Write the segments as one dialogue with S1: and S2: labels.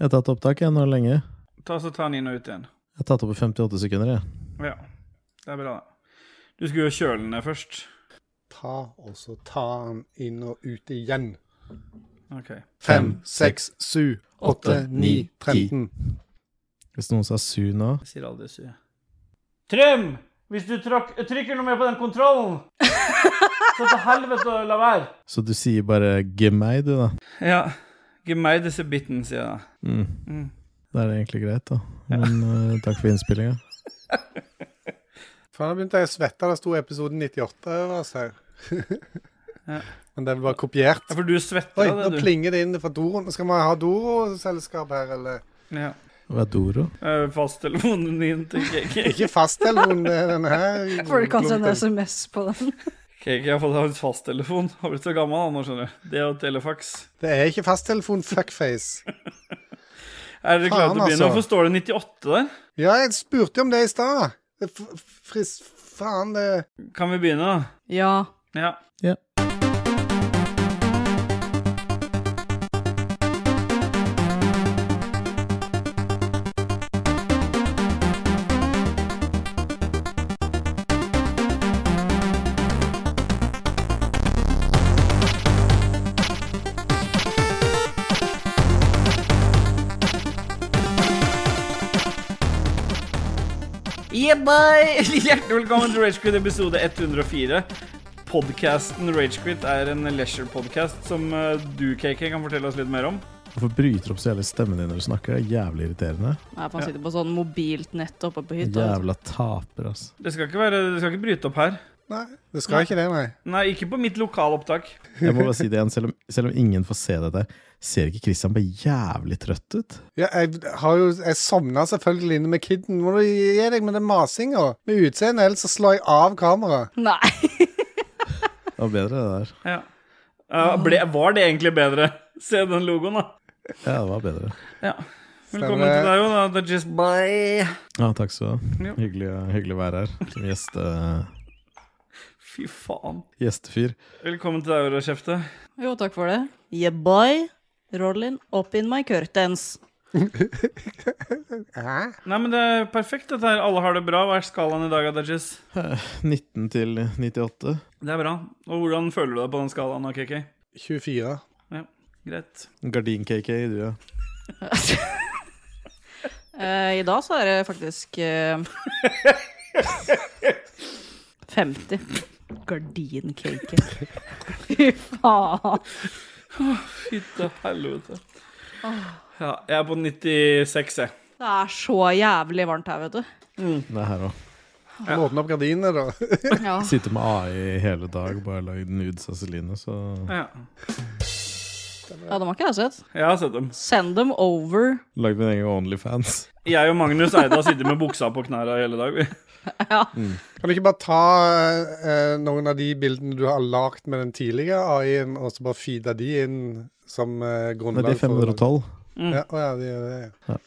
S1: Jeg har tatt opptak jeg, nå lenge.
S2: Ta så ta den inn og ut igjen.
S1: Jeg har tatt opp i 58 sekunder. jeg.
S2: Ja, det er bra. det. Du skulle jo kjøle den ned først.
S3: Ta og så ta den inn og ut igjen.
S2: Ok.
S3: Fem, seks, sju, åtte, ni, tretten.
S1: Hvis noen sa su nå
S2: Jeg sier aldri sy. Trym! Hvis du tråkk- trykker noe mer på den kontrollen, så til helvete å la være.
S1: Så du sier bare 'gi meg', du, da.
S2: Ja. Give meg disse bitten, sier jeg da.
S1: Mm.
S2: Mm.
S1: Da er det egentlig greit, da. Men eh, takk for innspillinga.
S3: Faen, da begynte jeg å svette. Det sto episoden 98 over oss her.
S2: Ja.
S3: Men den var kopiert.
S2: Ja, for du svetter
S3: Oi,
S2: av
S3: nå
S2: det, du.
S3: plinger det inn fra Doron. Skal vi ha Doro-selskap her, eller?
S2: Ja.
S1: Hva er Doro?
S2: Eh, Fasttelefonen din til KK.
S3: Ikke fasttelefonen, det er den her.
S4: Folk kan sende
S3: klumpen.
S4: SMS på den.
S2: KK har fått hans fasttelefon. Har blitt så gammel han nå, skjønner du. Det og telefax.
S3: Det er ikke fasttelefon, fuckface.
S2: Er dere klare til å
S3: Faen,
S2: begynne?
S3: altså.
S2: Hvorfor står det 98 der?
S3: Ja, jeg spurte jo om det i stad. Det er f- Fris... Faen, det
S2: Kan vi begynne, da?
S4: Ja.
S2: Ja.
S1: Ja.
S2: Yeah, bye! Hjertelig velkommen til Ragequit episode 104. Podkasten Ragequit er en leisure-podkast som eh, du, KK, kan fortelle oss litt mer om.
S1: Hvorfor bryter du opp så jævlig stemmen din når du snakker? Det er jævlig irriterende.
S4: Nei, man sitter på sånn mobilt nett oppe på hytta. altså.
S1: Jævla taper, altså.
S2: Det skal ikke, være, det skal ikke bryte opp her.
S3: Nei, det skal ikke det, nei.
S2: Nei, ikke på mitt lokalopptak.
S1: Jeg må bare si det igjen, selv om, selv om ingen får se dette. Ser ikke Christian bare jævlig trøtt ut?
S3: Ja, jeg har jo Jeg sovna selvfølgelig inne med kidden. Må du gi deg med den masinga? Med utseendet, ellers så slår jeg av kameraet.
S4: Nei.
S1: Det var bedre, det der.
S2: Ja. Eh, ble, var det egentlig bedre? Se den logoen, da.
S1: Ja, det var bedre.
S2: Ja. Velkommen
S3: Stemmer.
S2: til deg, jo, da. Det er just bye.
S1: Ja, takk skal du
S2: Ja.
S1: ha. Hyggelig, hyggelig å være her som gjeste,
S2: Fy faen.
S1: gjestefyr.
S2: Velkommen til deg, Euroskjefte.
S4: Jo, takk for det. Yeah, boy. Rolling up in my curtains.
S3: Hæ?
S2: Nei, men det er perfekt, dette her. Alle har det bra. Hva er skalaen i dag, Adajis?
S1: 19 til 98.
S2: Det er bra. Og hvordan føler du deg på den skalaen, da, KK?
S3: 24.
S2: Greit.
S1: Gardin-KK, du, ja.
S4: Eh, I dag så er det faktisk eh, 50. Gardin-cake. Fy faen.
S2: Fytte helvete. Ja, jeg er på 96, jeg.
S4: Det er så jævlig varmt her, vet du.
S1: Det er her òg.
S3: Må åpne opp gardinene, da.
S4: Ja.
S1: Sitter med AI hele dag, bare lagd nudes av Celine, så
S2: Ja.
S4: dem har ikke jeg sett.
S2: Jeg har sett dem.
S4: Send them over.
S1: Lagd min egen Onlyfans.
S2: Jeg og Magnus Eide har sittet med buksa på knærne hele dag. vi.
S3: Kan du ikke bare ta eh, noen av de bildene du har lagd med den tidligere AI-en, og så bare feede de inn som eh,
S1: Nei,
S3: grunnlag?
S1: det er
S3: for-
S1: 512.
S3: Ja, å ja, de gjør det.
S1: Ja.
S3: Ja.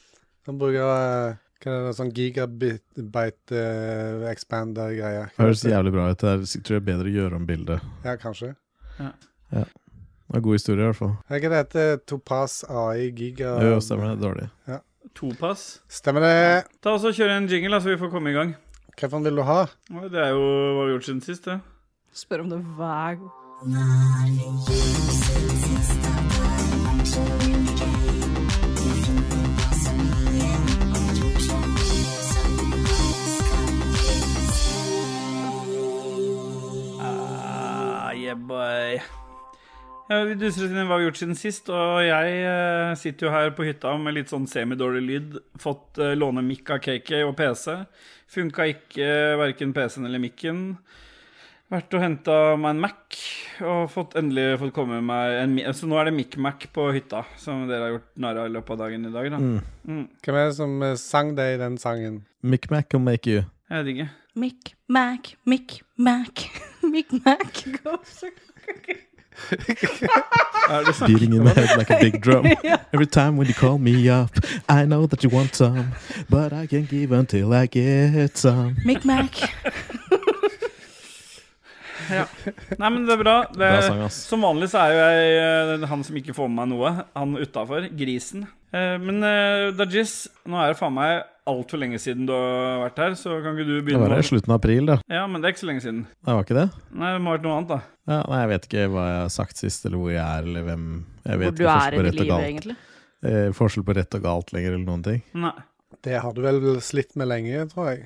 S3: De bruker eh, hva er det, sånn gigabyte eh, expander-greie.
S1: Høres jævlig bra ut. Det er, jeg tror jeg er bedre å gjøre om bildet.
S3: Ja, kanskje.
S1: Det er god historie, i hvert fall.
S3: Er ikke det heter Topaz AI Giga?
S1: Jo, stemmer det. Dårlig.
S2: Topass.
S3: Stemmer det.
S2: Ta oss og Kjør en jingle, da, så vi får komme i gang.
S3: Hvilken vil du ha?
S2: Oi, Det er jo hva vi har gjort siden sist. det.
S4: Spør om det hver gang.
S2: Ah, yeah, boy. Ja, vi duser oss inn i hva vi har gjort siden sist, og jeg eh, sitter jo her på hytta med litt sånn semidårlig lyd. Fått eh, låne mic av KK og PC. Funka ikke eh, verken PC-en eller mikken. Vært og henta meg en Mac, og fått endelig fått komme meg en mi- Så nå er det mic-mac på hytta, som dere har gjort narr av i løpet av dagen i dag, da.
S3: Hvem er det som eh, sang det i den sangen?
S1: Micmac will make you.
S2: Jeg vet ikke.
S4: Mick, Mac, Mick, Mac. Mick, Mac goes
S2: Er det sånn? sant?
S1: Beating in the head like a big drum. Every time when you call me up, I know that you want some, but I can't give until I get some.
S4: Mick, Mac.
S2: ja. Nei, men det er bra. Det,
S1: Bra sang, ass.
S2: som vanlig så er jo jeg eh, han som ikke får med meg noe. Han utafor. Grisen. Eh, Men eh, Dajis, nå er det faen meg altfor lenge siden du har vært her, så kan ikke du
S1: Det
S2: begynne
S1: var i
S2: med
S1: slutten av april, det.
S2: Ja, men det er ikke så lenge siden.
S1: Det var ikke det?
S2: Nei, det må ha vært noe annet, da.
S1: Ja, nei, jeg vet ikke hva jeg har sagt sist, eller hvor jeg er, eller hvem Jeg vet
S4: Hvor du
S1: ikke
S4: er
S1: forskjell på
S4: i
S1: rett og
S4: livet,
S1: galt.
S4: egentlig.
S1: Eh, forskjell på rett og galt lenger, eller noen ting.
S2: Nei.
S3: Det har du vel slitt med lenge, tror jeg.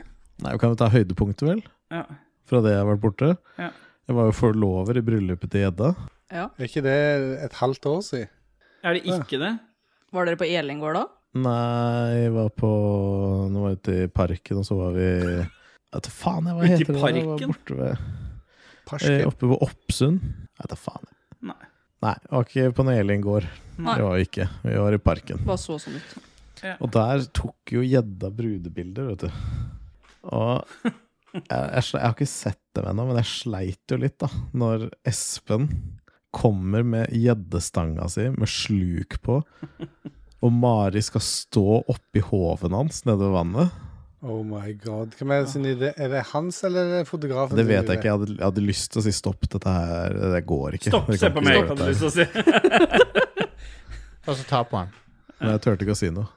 S1: Nei, vi kan jo ta høydepunktet, vel?
S2: Ja.
S1: Fra det jeg har vært borte.
S2: Ja.
S1: Jeg var jo forlover i bryllupet til Edda.
S4: Ja.
S3: Er ikke det et halvt år
S1: Eh,
S3: siden?
S2: Er det ikke det?
S4: Var dere på Elengård da?
S1: Nei, jeg var på Nå var jeg ute i parken, og så var vi Jeg vet da faen jeg, hva
S2: Ute i
S1: heter det? da? Jeg var
S2: parken?
S1: borte ved, eh,
S3: Parsken.
S1: oppe ved Oppsund. Jeg vet da faen. jeg.
S2: Nei.
S1: Nei, det var ikke på Nelin gård.
S4: Nei.
S1: Det var vi ikke. Vi var i parken.
S4: Bare så sånn ut.
S1: Og der tok jo gjedda brudebilder, vet du. Og jeg, jeg, sle- jeg har ikke sett dem ennå, men jeg sleit jo litt, da. Når Espen kommer med gjeddestanga si med sluk på, og Mari skal stå oppi hoven hans nede ved vannet.
S3: Oh my god. Hvem er, det sin idé? er det hans eller er det fotografen?
S1: Det
S3: sin
S1: vet
S3: idé?
S1: jeg ikke. Jeg hadde, jeg hadde lyst til å si stopp, dette her Det går ikke.
S2: Stopp,
S1: Dere
S2: se
S1: kan
S2: på
S1: ikke
S2: meg,
S1: gjøre dette
S2: hadde du
S1: her.
S2: lyst til å si.
S5: Og så ta på han.
S1: Men jeg turte ikke å si noe.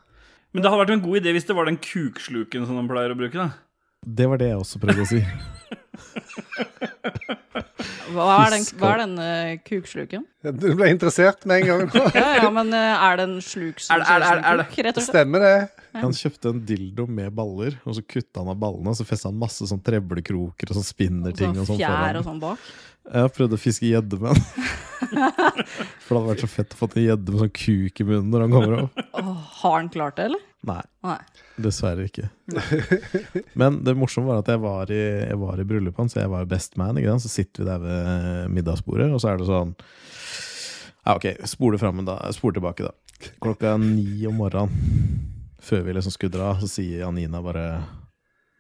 S2: Men det hadde vært en god idé hvis det var den kuksluken som de pleier å bruke, da.
S1: Det var det jeg også prøvde å si.
S4: Hva er den, hva er den eh, kuksluken?
S3: Du ble interessert med en gang. nå.
S4: Ja, ja, men eh, er det en sluk som
S2: Er det- er det- er det- er det-
S4: kuk, rett og slett?
S3: Stemmer det?
S1: Han kjøpte en dildo med baller, og så kutta han av ballene. Og så festa han masse sånn treblekroker og sånn spinnerting og sånn
S4: Sånn fjær
S1: foran.
S4: og sånn bak.
S1: Jeg har prøvd å fiske gjedde med han. For det hadde vært så fett å få en gjedde med sånn kuk i munnen når han kommer opp.
S4: Åh, har han klart det, eller?
S1: Nei,
S4: Nei.
S1: dessverre ikke. Men det morsomme var at jeg var i, jeg var i bryllupet hans, så jeg var jo best man. Ikke sant? Så sitter vi der ved middagsbordet, og så er det sånn Ja, ok, spol det fram, men da. Spol tilbake, da. Klokka ni om morgenen, før vi liksom skulle dra, så sier Janina bare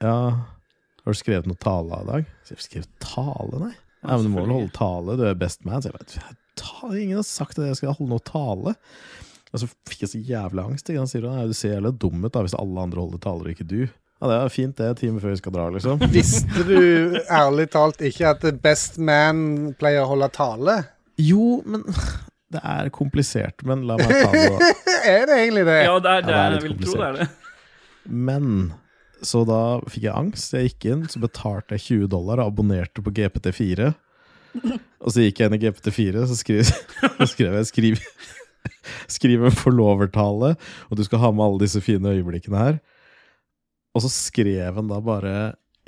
S1: Ja, har du skrevet noe tale i dag? Så jeg skrev tale, nei? Nei, men du må vel holde tale, du er best man. Så jeg bare, ta, ingen har sagt at jeg skal holde noe tale. Og så Altså, fikk jeg så jævla angst. Ikke? Han sier nei, du ser jævla dum ut da, hvis alle andre holder taler og ikke du. Ja, det er fint det, time før vi skal dra, liksom.
S3: Visste du ærlig talt ikke at best man pleier å holde tale?
S1: Jo, men det er komplisert, men la meg ta det da.
S3: Er det egentlig det?
S2: Ja, det er,
S1: det
S2: det
S1: er
S2: er,
S1: litt
S2: jeg vil tro det er det.
S1: Men så da fikk jeg angst. Jeg gikk inn, så betalte jeg 20 dollar og abonnerte på GPT4. Og så gikk jeg inn i GPT4, så skrev, så skrev jeg skriv, skriv en forlovertale, og du skal ha med alle disse fine øyeblikkene her. Og så skrev han da bare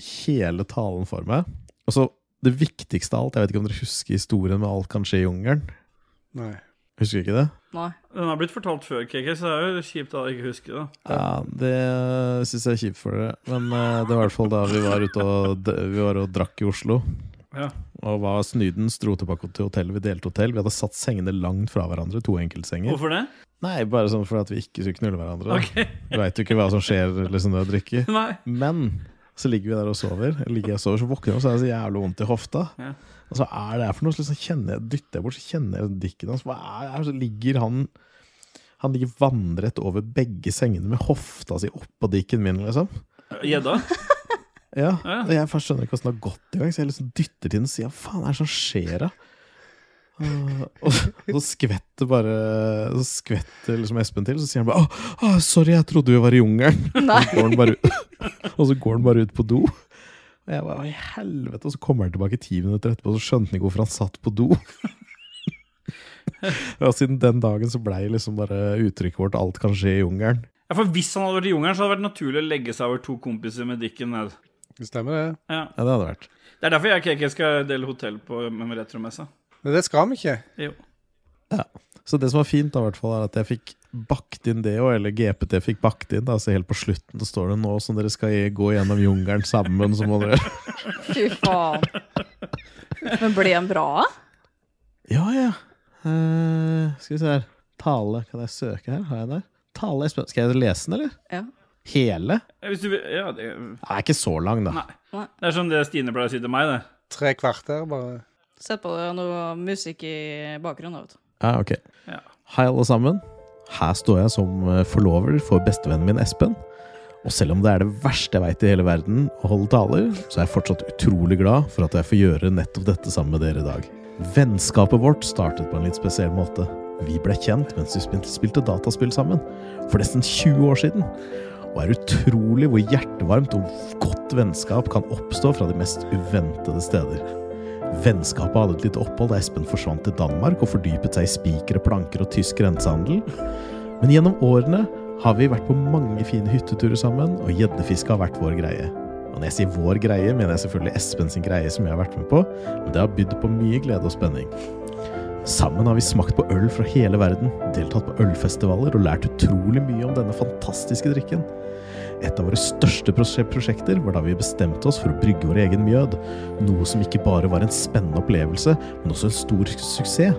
S1: hele talen for meg. Og så det viktigste av alt, jeg vet ikke om dere husker historien med Alt kan skje i jungelen?
S3: Nei.
S1: Husker dere ikke det?
S4: Nei.
S2: Den har blitt fortalt før, KK, så det er jo kjipt at jeg ikke husker det.
S1: Ja, det syns jeg er kjipt for dere. Men eh, det var i hvert fall da vi var ute og, d- vi var og drakk i Oslo.
S2: Ja.
S1: Og var snydens, dro tilbake til hotellet. Vi delte hotell. Vi hadde satt sengene langt fra hverandre. To enkeltsenger.
S2: Hvorfor det?
S1: Nei, bare sånn for at vi ikke skulle knulle hverandre.
S2: Ok,
S1: Du veit jo ikke hva som skjer liksom, når du drikker.
S2: nei.
S1: Men så ligger vi der og sover, eller ligger jeg og sover, så våkner jeg, og så er det så jævlig vondt i hofta.
S2: Ja.
S1: Og så er det her for noe, så liksom kjenner jeg, dytter jeg bort, så kjenner jeg dikken hans. Hva er det her? Så ligger han Han ligger vannrett over begge sengene med hofta si oppå dikken min, liksom. Ja,
S2: Gjedda? Ja.
S1: og jeg først skjønner ikke hvordan det har gått i gang, så jeg liksom dytter til den og sier hva faen er det som skjer da? Uh, og så skvetter bare Så skvetter liksom Espen til, så sier han bare Å, å, sorry, jeg trodde vi var i jungelen.
S4: Nei.
S1: Så går han bare ut, og så går han bare ut på do. Og jeg bare, «Hva i helvete, og så kommer han tilbake ti minutter etterpå, og så skjønte han ikke hvorfor han satt på do. Ja, siden den dagen så blei liksom bare uttrykket vårt 'alt kan skje i jungelen'.
S2: Ja, for hvis han hadde vært i jungelen, så hadde det vært naturlig å legge seg over to kompiser med dikken ned.
S3: Stemmer det.
S2: Ja.
S1: Ja, det hadde vært.
S2: Det er derfor jeg og KK skal dele hotell på med retromessa.
S3: Men det skal vi ikke.
S2: Jo.
S1: Så det som var fint, da, i hvert fall, er at jeg fikk bakt inn det òg, eller GPT fikk bakt inn. Da, så helt på slutten så står det nå som dere skal gå gjennom jungelen sammen, så må dere
S4: Fy faen. Men ble han bra?
S1: Ja, ja. Eh, skal vi se her. Tale, kan jeg søke her? Har jeg det? Tale Espen Skal jeg lese den, eller?
S4: Ja.
S1: Hele?
S2: Eh, Hvis du vil Ja, det
S1: Den er ikke så lang, da.
S2: Nei. Det er som det Stine pleier å si til meg, det.
S3: Tre kvarter, bare.
S4: Sett på det, noe musikk i bakgrunnen. da, Vet
S1: Ja,
S4: du.
S1: Ah, ok.
S2: Ja.
S1: Hei, alle sammen. Her står jeg som eh, forlover for bestevennen min Espen. Og selv om det er det verste jeg veit i hele verden, å holde taler, så er jeg fortsatt utrolig glad for at jeg får gjøre nettopp dette sammen med dere i dag. Vennskapet vårt startet på en litt spesiell måte. Vi ble kjent mens vi spil- spilte dataspill sammen, for nesten 20 år siden. Og er utrolig hvor hjertevarmt og godt vennskap kan oppstå fra de mest uventede steder. Vennskapet hadde et lite opphold da Espen forsvant til Danmark og fordypet seg i spikere, planker og tysk grensehandel. Men gjennom årene har vi vært på mange fine hytteturer sammen, og gjeddefiske har vært vår greie. Og når jeg sier vår greie, mener jeg selvfølgelig Espen sin greie som jeg har vært med på, men det har bydd på mye glede og spenning. Sammen har vi smakt på øl fra hele verden, deltatt på ølfestivaler og lært utrolig mye om denne fantastiske drikken. Et av våre største prosje- prosjekter var da vi bestemte oss for å brygge vår egen mjød, noe som ikke bare var en spennende opplevelse, men også en stor suksess.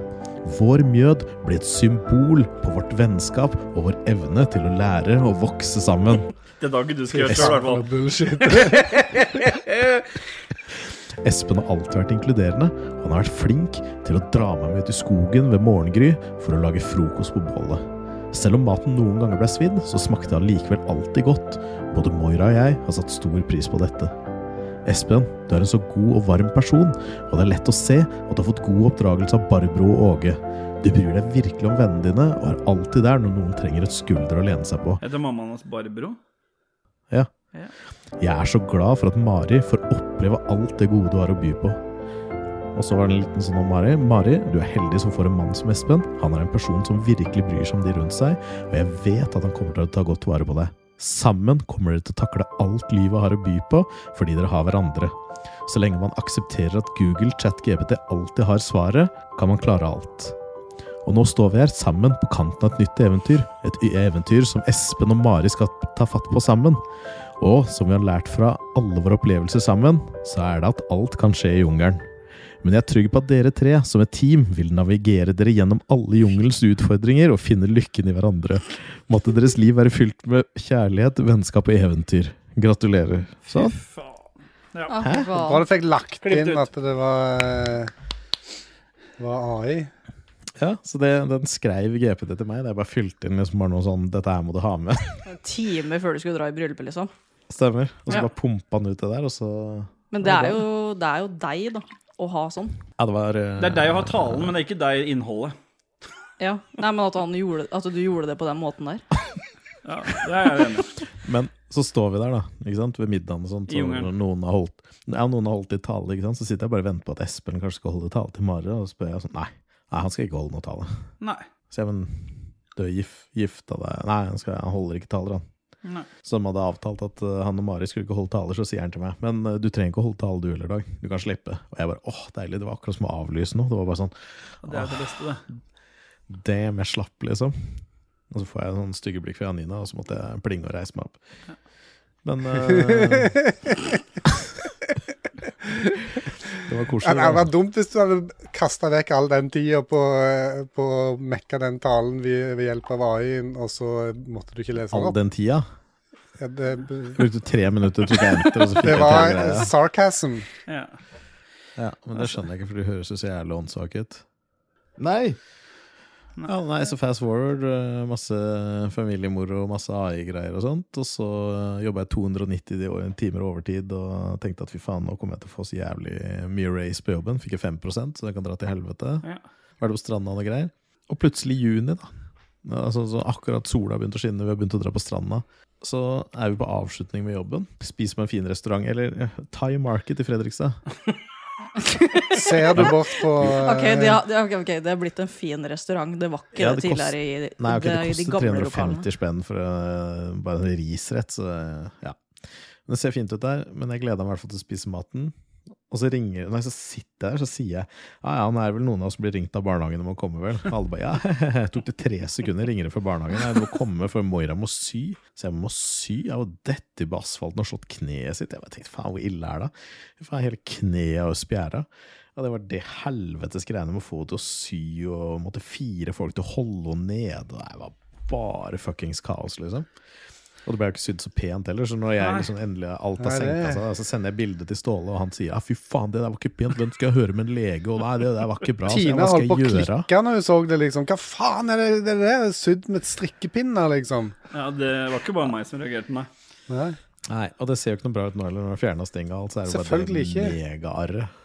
S1: Vår mjød ble et symbol på vårt vennskap og vår evne til å lære og vokse sammen.
S2: Det er da ikke du skal gjøre selv, i hvert fall.
S3: Bullshit.
S1: Espen har alltid vært inkluderende, og han har vært flink til å dra meg med ut i skogen ved morgengry for å lage frokost på bålet. Selv om maten noen ganger ble svidd, så smakte det allikevel alltid godt. Både Moira og jeg har satt stor pris på dette. Espen, du er en så god og varm person, og det er lett å se at du har fått god oppdragelse av Barbro og Åge. Du bryr deg virkelig om vennene dine, og er alltid der når noen trenger et skulder å lene seg på.
S2: Heter mammaen hans Barbro?
S1: Jeg er så glad for at Mari får oppleve alt det gode du har å by på. Og så var det en liten sånn om Mari. Mari, du er heldig som får en mann som Espen. Han er en person som virkelig bryr seg om de rundt seg, og jeg vet at han kommer til å ta godt vare på deg. Sammen kommer dere til å takle alt livet har å by på, fordi dere har hverandre. Så lenge man aksepterer at Google ChatGPT alltid har svaret, kan man klare alt. Og nå står vi her sammen på kanten av et nytt eventyr. Et y- eventyr som Espen og Mari skal ta fatt på sammen. Og som vi har lært fra alle våre opplevelser sammen, så er det at alt kan skje i jungelen. Men jeg er trygg på at dere tre som et team vil navigere dere gjennom alle jungelens utfordringer og finne lykken i hverandre. Måtte deres liv være fylt med kjærlighet, vennskap og eventyr. Gratulerer. Sånn.
S2: Faen. Ja.
S4: Å,
S1: Hæ?
S4: fy
S3: Bra
S4: faen.
S3: du fikk lagt
S2: Klippet
S3: inn
S2: ut.
S3: at det var, eh, var AI.
S1: Ja, så det, den skrev GPT til meg. Det er bare fylt inn liksom bare noe sånn 'Dette her må du ha med'.
S4: En time før du skulle dra i bryllupet, liksom.
S1: Stemmer. Og så
S4: Ja.
S1: bare pumpa han ut det der, og så
S4: Men det er jo, det er jo deg, da. Å ha sånn.
S1: Ja, det var eh,
S2: Det er deg å ha talen, men det er ikke deg i innholdet.
S4: Ja. Nei, men at, han gjorde, at du gjorde det på den måten der.
S2: Ja, det er jeg enig i.
S1: eh, Men så står vi der, da, ikke sant? ved middagen og sånt,
S2: I
S1: så
S2: jungelen.
S1: noen har holdt ja, noen har holdt i tale, ikke sant? så sitter jeg bare og venter på at Espen kanskje skal holde tale til Mari, og så spør jeg sånn Nei, nei han skal ikke holde noe tale.
S2: Nei.
S1: Så jeg, men du er gif, gifta deg Nei, han, skal, han holder ikke taler, han.
S2: Nei.
S1: Så de hadde avtalt at eh, han og Mari skulle ikke holde taler, så sier han til meg Men eh, du trenger ikke å holde tale du heller, Dag. Du kan slippe. Og jeg bare åh, deilig. Det var akkurat som å avlyse noe. Det var bare sånn
S2: Det er det beste, det.
S1: Damn, jeg slapp, liksom. Og så får jeg sånn stygge blikk fra Nina, og så måtte jeg plinge og reise meg opp. Men eh, Det var
S3: Det hadde
S1: koselig.
S3: vært dumt hvis du hadde kasta vekk all den tida på, eh, på å mekke den talen ved, ved hjelp av AI-en, og så måtte du ikke lese
S1: All
S3: den opp.
S1: den tida.
S3: Ja, det,
S1: Jeg brukte tre minutter, trykka enter, og så fikk
S3: det
S1: jeg
S3: var
S1: til
S3: eh,
S1: greia.
S3: sarcasm.
S2: Ja.
S1: Ja, men det skjønner jeg ikke, for du høres jo så jævlig åndssvak ut.
S5: Nei!
S1: Ja, nei, så fast forward, eh, masse familiemoro, masse AI-greier og sånt. Og så jobba jeg 290 de år- timer overtid og tenkte at fy faen, nå kommer jeg til å få så jævlig mye race på jobben. Fikk jeg 5 så jeg kan dra til helvete.
S2: Ja.
S1: Vært på stranda og noe greier. Og plutselig i juni, da. Altså, så akkurat sola har begynt å skinne, vi har begynt å dra på stranda. Så er vi på avslutning med jobben. Spiser på en fin restaurant, eller eh, Thai Market i Fredrikstad.
S3: Ser du bort på eh,
S4: Ok, det, har- det, ok, ok, det er blitt en fin restaurant. Det var ikke
S1: Ja,
S4: det,
S1: det kost-
S4: tidligere i,
S1: Nei, ok,
S4: det, i
S1: det
S4: de
S1: koster
S4: gamle lokalene.
S1: 350 spenn for eh, bare en risrett, så eh, ja. Men Det ser fint ut der, men jeg gleder meg i hvert fall til å spise maten. Og så ringer Nei, så sitter jeg der, så sier jeg Ja, ja, nå er det vel noen av oss som blir ringt av barnehagen om å komme, vel? Og Alle bare ja. Jeg tok det tre sekunder, ringer det fra barnehagen. Nei, du må komme, for Moira må sy. Så jeg må sy. Jeg var dette på asfalten og slått kneet sitt. Jeg bare tenkte faen, hvor ille er det? Faen, hele kneet og spjæra. Ja, det var det helvetes greiene med å få henne til å sy og måtte fire folk til å holde henne nede. Det var bare fuckings kaos, liksom. Og det ble jo ikke sydd så pent heller, så når jeg
S2: Nei.
S1: liksom endelig alt
S3: Nei,
S1: har
S3: det-
S1: senka seg, så sender jeg bildet til Ståle, og han sier ja, fy faen, det der var ikke pent, hvem skal jeg høre med en lege, og nei, det der var ikke bra, så
S3: Tina
S1: hva
S3: holdt
S1: skal
S3: på å
S1: jeg gjøre?
S3: klikke når hun så det, liksom. Hva faen er det, det der? Sydd med strikkepinner, liksom.
S2: ja, det var ikke bare meg som reagerte, nei.
S3: Nei.
S1: Nei, Og det ser jo ikke noe bra ut nå heller, når du har fjerna stinga og alt. Så er det bare
S3: Selvfølgelig
S1: det
S3: ikke.
S1: megaarret.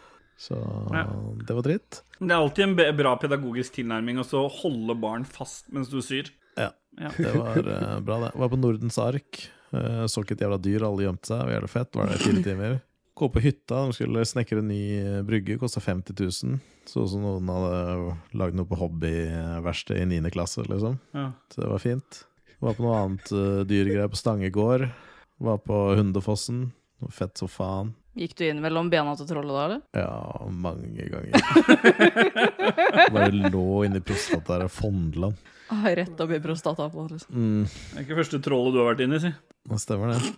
S1: Så
S2: Ja.
S1: det var dritt.
S2: Det er alltid en be- bra pedagogisk tilnærming å så holde barn fast mens du syr.
S1: Det var eh, bra, det. Var på Nordens ark. eh, så ikke et jævla dyr, alle gjemte seg. Det var jævlig fett. Var der i fire timer. Gå på hytta, de skulle snekre en ny eh, brygge, kosta 50 000. Så ut som noen hadde lagd noe på hobbyverkstedet i 9. klasse, liksom.
S2: Ja.
S1: Så det var fint. Var på noe annet eh, dyregreier på Stangegård. Var på Hundefossen. Noe fett som faen.
S4: Gikk du inn mellom bena til trollet da, eller?
S1: Ja, mange ganger. Bare lå inni prostataet og fondla den.
S4: Ah, rett opp i prostata på liksom.
S1: Mm.
S2: Det er ikke første trollet du har vært inni, si.
S1: Det stemmer det.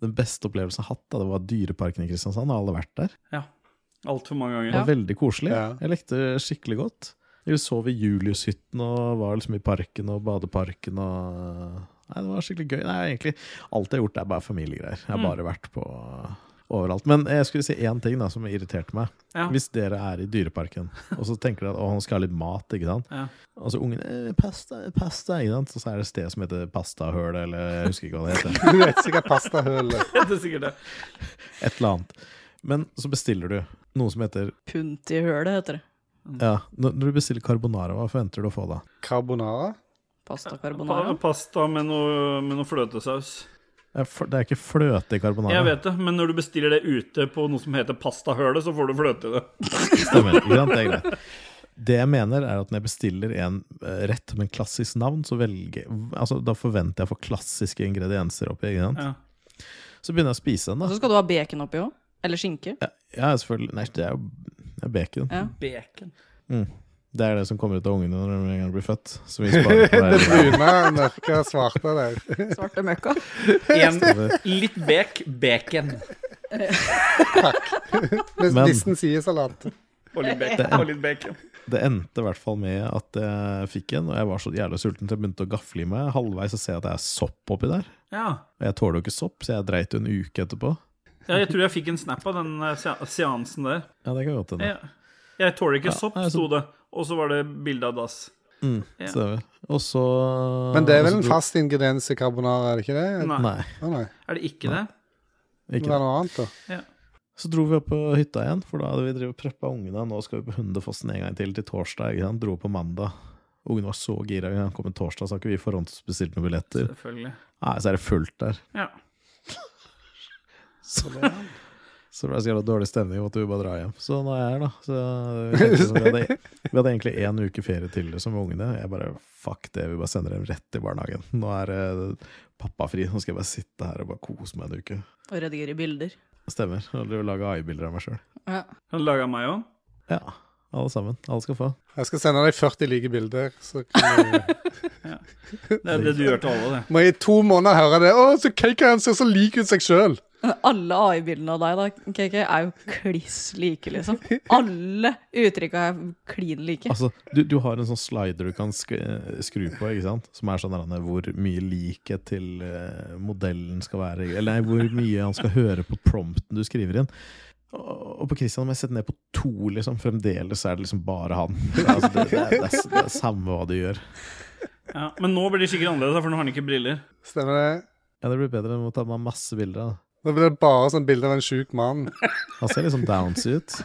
S1: Den beste opplevelsen jeg har hatt, da, det var Dyreparken i Kristiansand. Har alle vært der?
S2: Altfor mange ganger.
S1: Det var veldig koselig.
S3: Ja.
S1: Jeg likte det skikkelig godt. Vi sov i Juliushytten og var liksom i parken og badeparken og Nei, det var skikkelig gøy. Nei, egentlig Alt jeg har gjort, er bare familiegreier.
S2: Mm.
S1: Jeg har bare vært på overalt. Men jeg skulle si én ting da som irriterte meg.
S2: Ja.
S1: Hvis dere er i Dyreparken og så tenker dere at å, han skal ha litt mat, ikke sant.
S2: Ja.
S1: Og så ungen eh, pasta, pasta, ikke sant. Og så er det et sted som heter Pastahøl, eller jeg husker ikke hva det heter.
S3: Du vet sikkert pastahølet.
S2: Det er sikkert det.
S1: Et eller annet. Men så bestiller du noe som heter
S4: Punt i hølet, heter det.
S2: Mm.
S1: Ja, når når du bestiller carbonara, hva forventer du å få da?
S3: Carbonara.
S4: Pasta
S2: Pa
S4: carbonara.
S2: pasta med noe, med noe fløtesaus.
S1: Det er fl- Det er ikke fløte i carbonara.
S2: Jeg vet det, men når du bestiller det ute på noe som heter pastahølet, så får du fløte i det.
S1: Stemmer. Ikke sant? Det er greit. Det jeg mener, er at når jeg bestiller en eh, rett med klassisk navn, så velger Altså, da forventer jeg å få klassiske ingredienser oppi, ikke sant?
S2: Ja.
S1: Så begynner jeg å spise den,
S4: Og
S1: da.
S4: så skal du ha bacon oppi òg. Eller skinke.
S1: Ja, ja selvfølgelig. Nei, det er jo det er bacon.
S4: Ja.
S2: Bacon.
S1: Det er det som kommer ut av ungene når de en gang blir født. Så vi sparer på
S3: Det
S1: det.
S3: brune, mørke, svarte der.
S4: Svarte møkka.
S2: En, litt bek, bacon.
S3: Mens
S1: Men-
S3: nissen sier salat.
S2: Og litt bacon. Og litt bacon.
S1: Det endte i hvert fall med at jeg fikk en, og jeg var så jævlig sulten til jeg begynte å gafle i meg. Halvveis så ser jeg at det er sopp oppi der.
S2: Ja.
S1: Og jeg tåler jo ikke sopp, så jeg dreit jo en uke etterpå.
S2: ja, jeg tror jeg fikk en snap av den eh, sea- seansen der.
S1: Ja, det kan godt hende.
S2: Ja. Jeg tåler ikke
S1: Ja,
S2: sopp,
S1: nei, så-
S2: sto det. Og så var det bilde av dass.
S1: Mm,
S2: Ja.
S1: Stemmer. Og så
S3: Men det er vel
S1: og
S3: en
S1: så-
S3: fast ingrediens i carbonara, er det ikke det?
S2: Nei.
S1: Nei,
S3: Å nei.
S2: Er det ikke det?
S3: Det
S1: ikke det.
S3: er noe annet, da.
S1: Så dro vi opp på hytta igjen, for da hadde vi drevet og preppa ungene. Nå skal vi på Hundefossen en gang til til torsdag. Ikke sant? Dro på mandag. Ungene var så gira. ikke sant? Kom en torsdag, så har ikke vi forhåndsbestilt noen billetter.
S2: Selvfølgelig.
S1: Nei, så er det fullt der.
S2: Ja.
S1: Så, så ble det så jævla dårlig stemning, måtte vi bare dra hjem. Så nå er jeg her, da. Så vi, tenkte sånn, vi, hadde, vi hadde egentlig én uke ferie til liksom, med ungene. Jeg bare fuck det, vi bare sender dem rett i barnehagen. Nå er eh, pappa fri, nå skal jeg bare sitte her og bare kose meg en uke.
S4: Og redigere bilder.
S1: Stemmer. Jeg har laga AI-bilder av meg sjøl.
S4: Ja.
S2: Kan du lage av meg òg?
S1: Ja. Alle sammen. Alle skal få.
S3: Jeg skal sende deg 40 like bilder. Så kan du...
S2: Det er det du gjør til alle, det.
S3: Må jeg i to måneder høre det. 'Å, så cake han ser så lik ut seg sjøl'.
S4: Alle AI-bildene av deg da, KK, er jo kliss like, liksom. Alle uttrykka er klin like.
S1: Altså, du, du har en sånn slider du kan sk eh, skru på, ikke sant? som er sånn der, hvor mye likhet til eh, modellen skal være. Eller nei, hvor mye han skal høre på prompten du skriver inn. Og, og på Christian må jeg sette ned på to, liksom. Fremdeles er det liksom bare han. Altså, det, det, er, det, er, s- det er samme hva du gjør.
S2: Ja. Men nå blir det sikkert annerledes, da, for nå har han ikke briller.
S3: Stemmer det?
S1: Ja, Det blir bedre enn å ta med masse bilder. da.
S3: Nå blir det bare sånn bilde av en sjuk mann.
S1: Han ser litt sånn downs ut.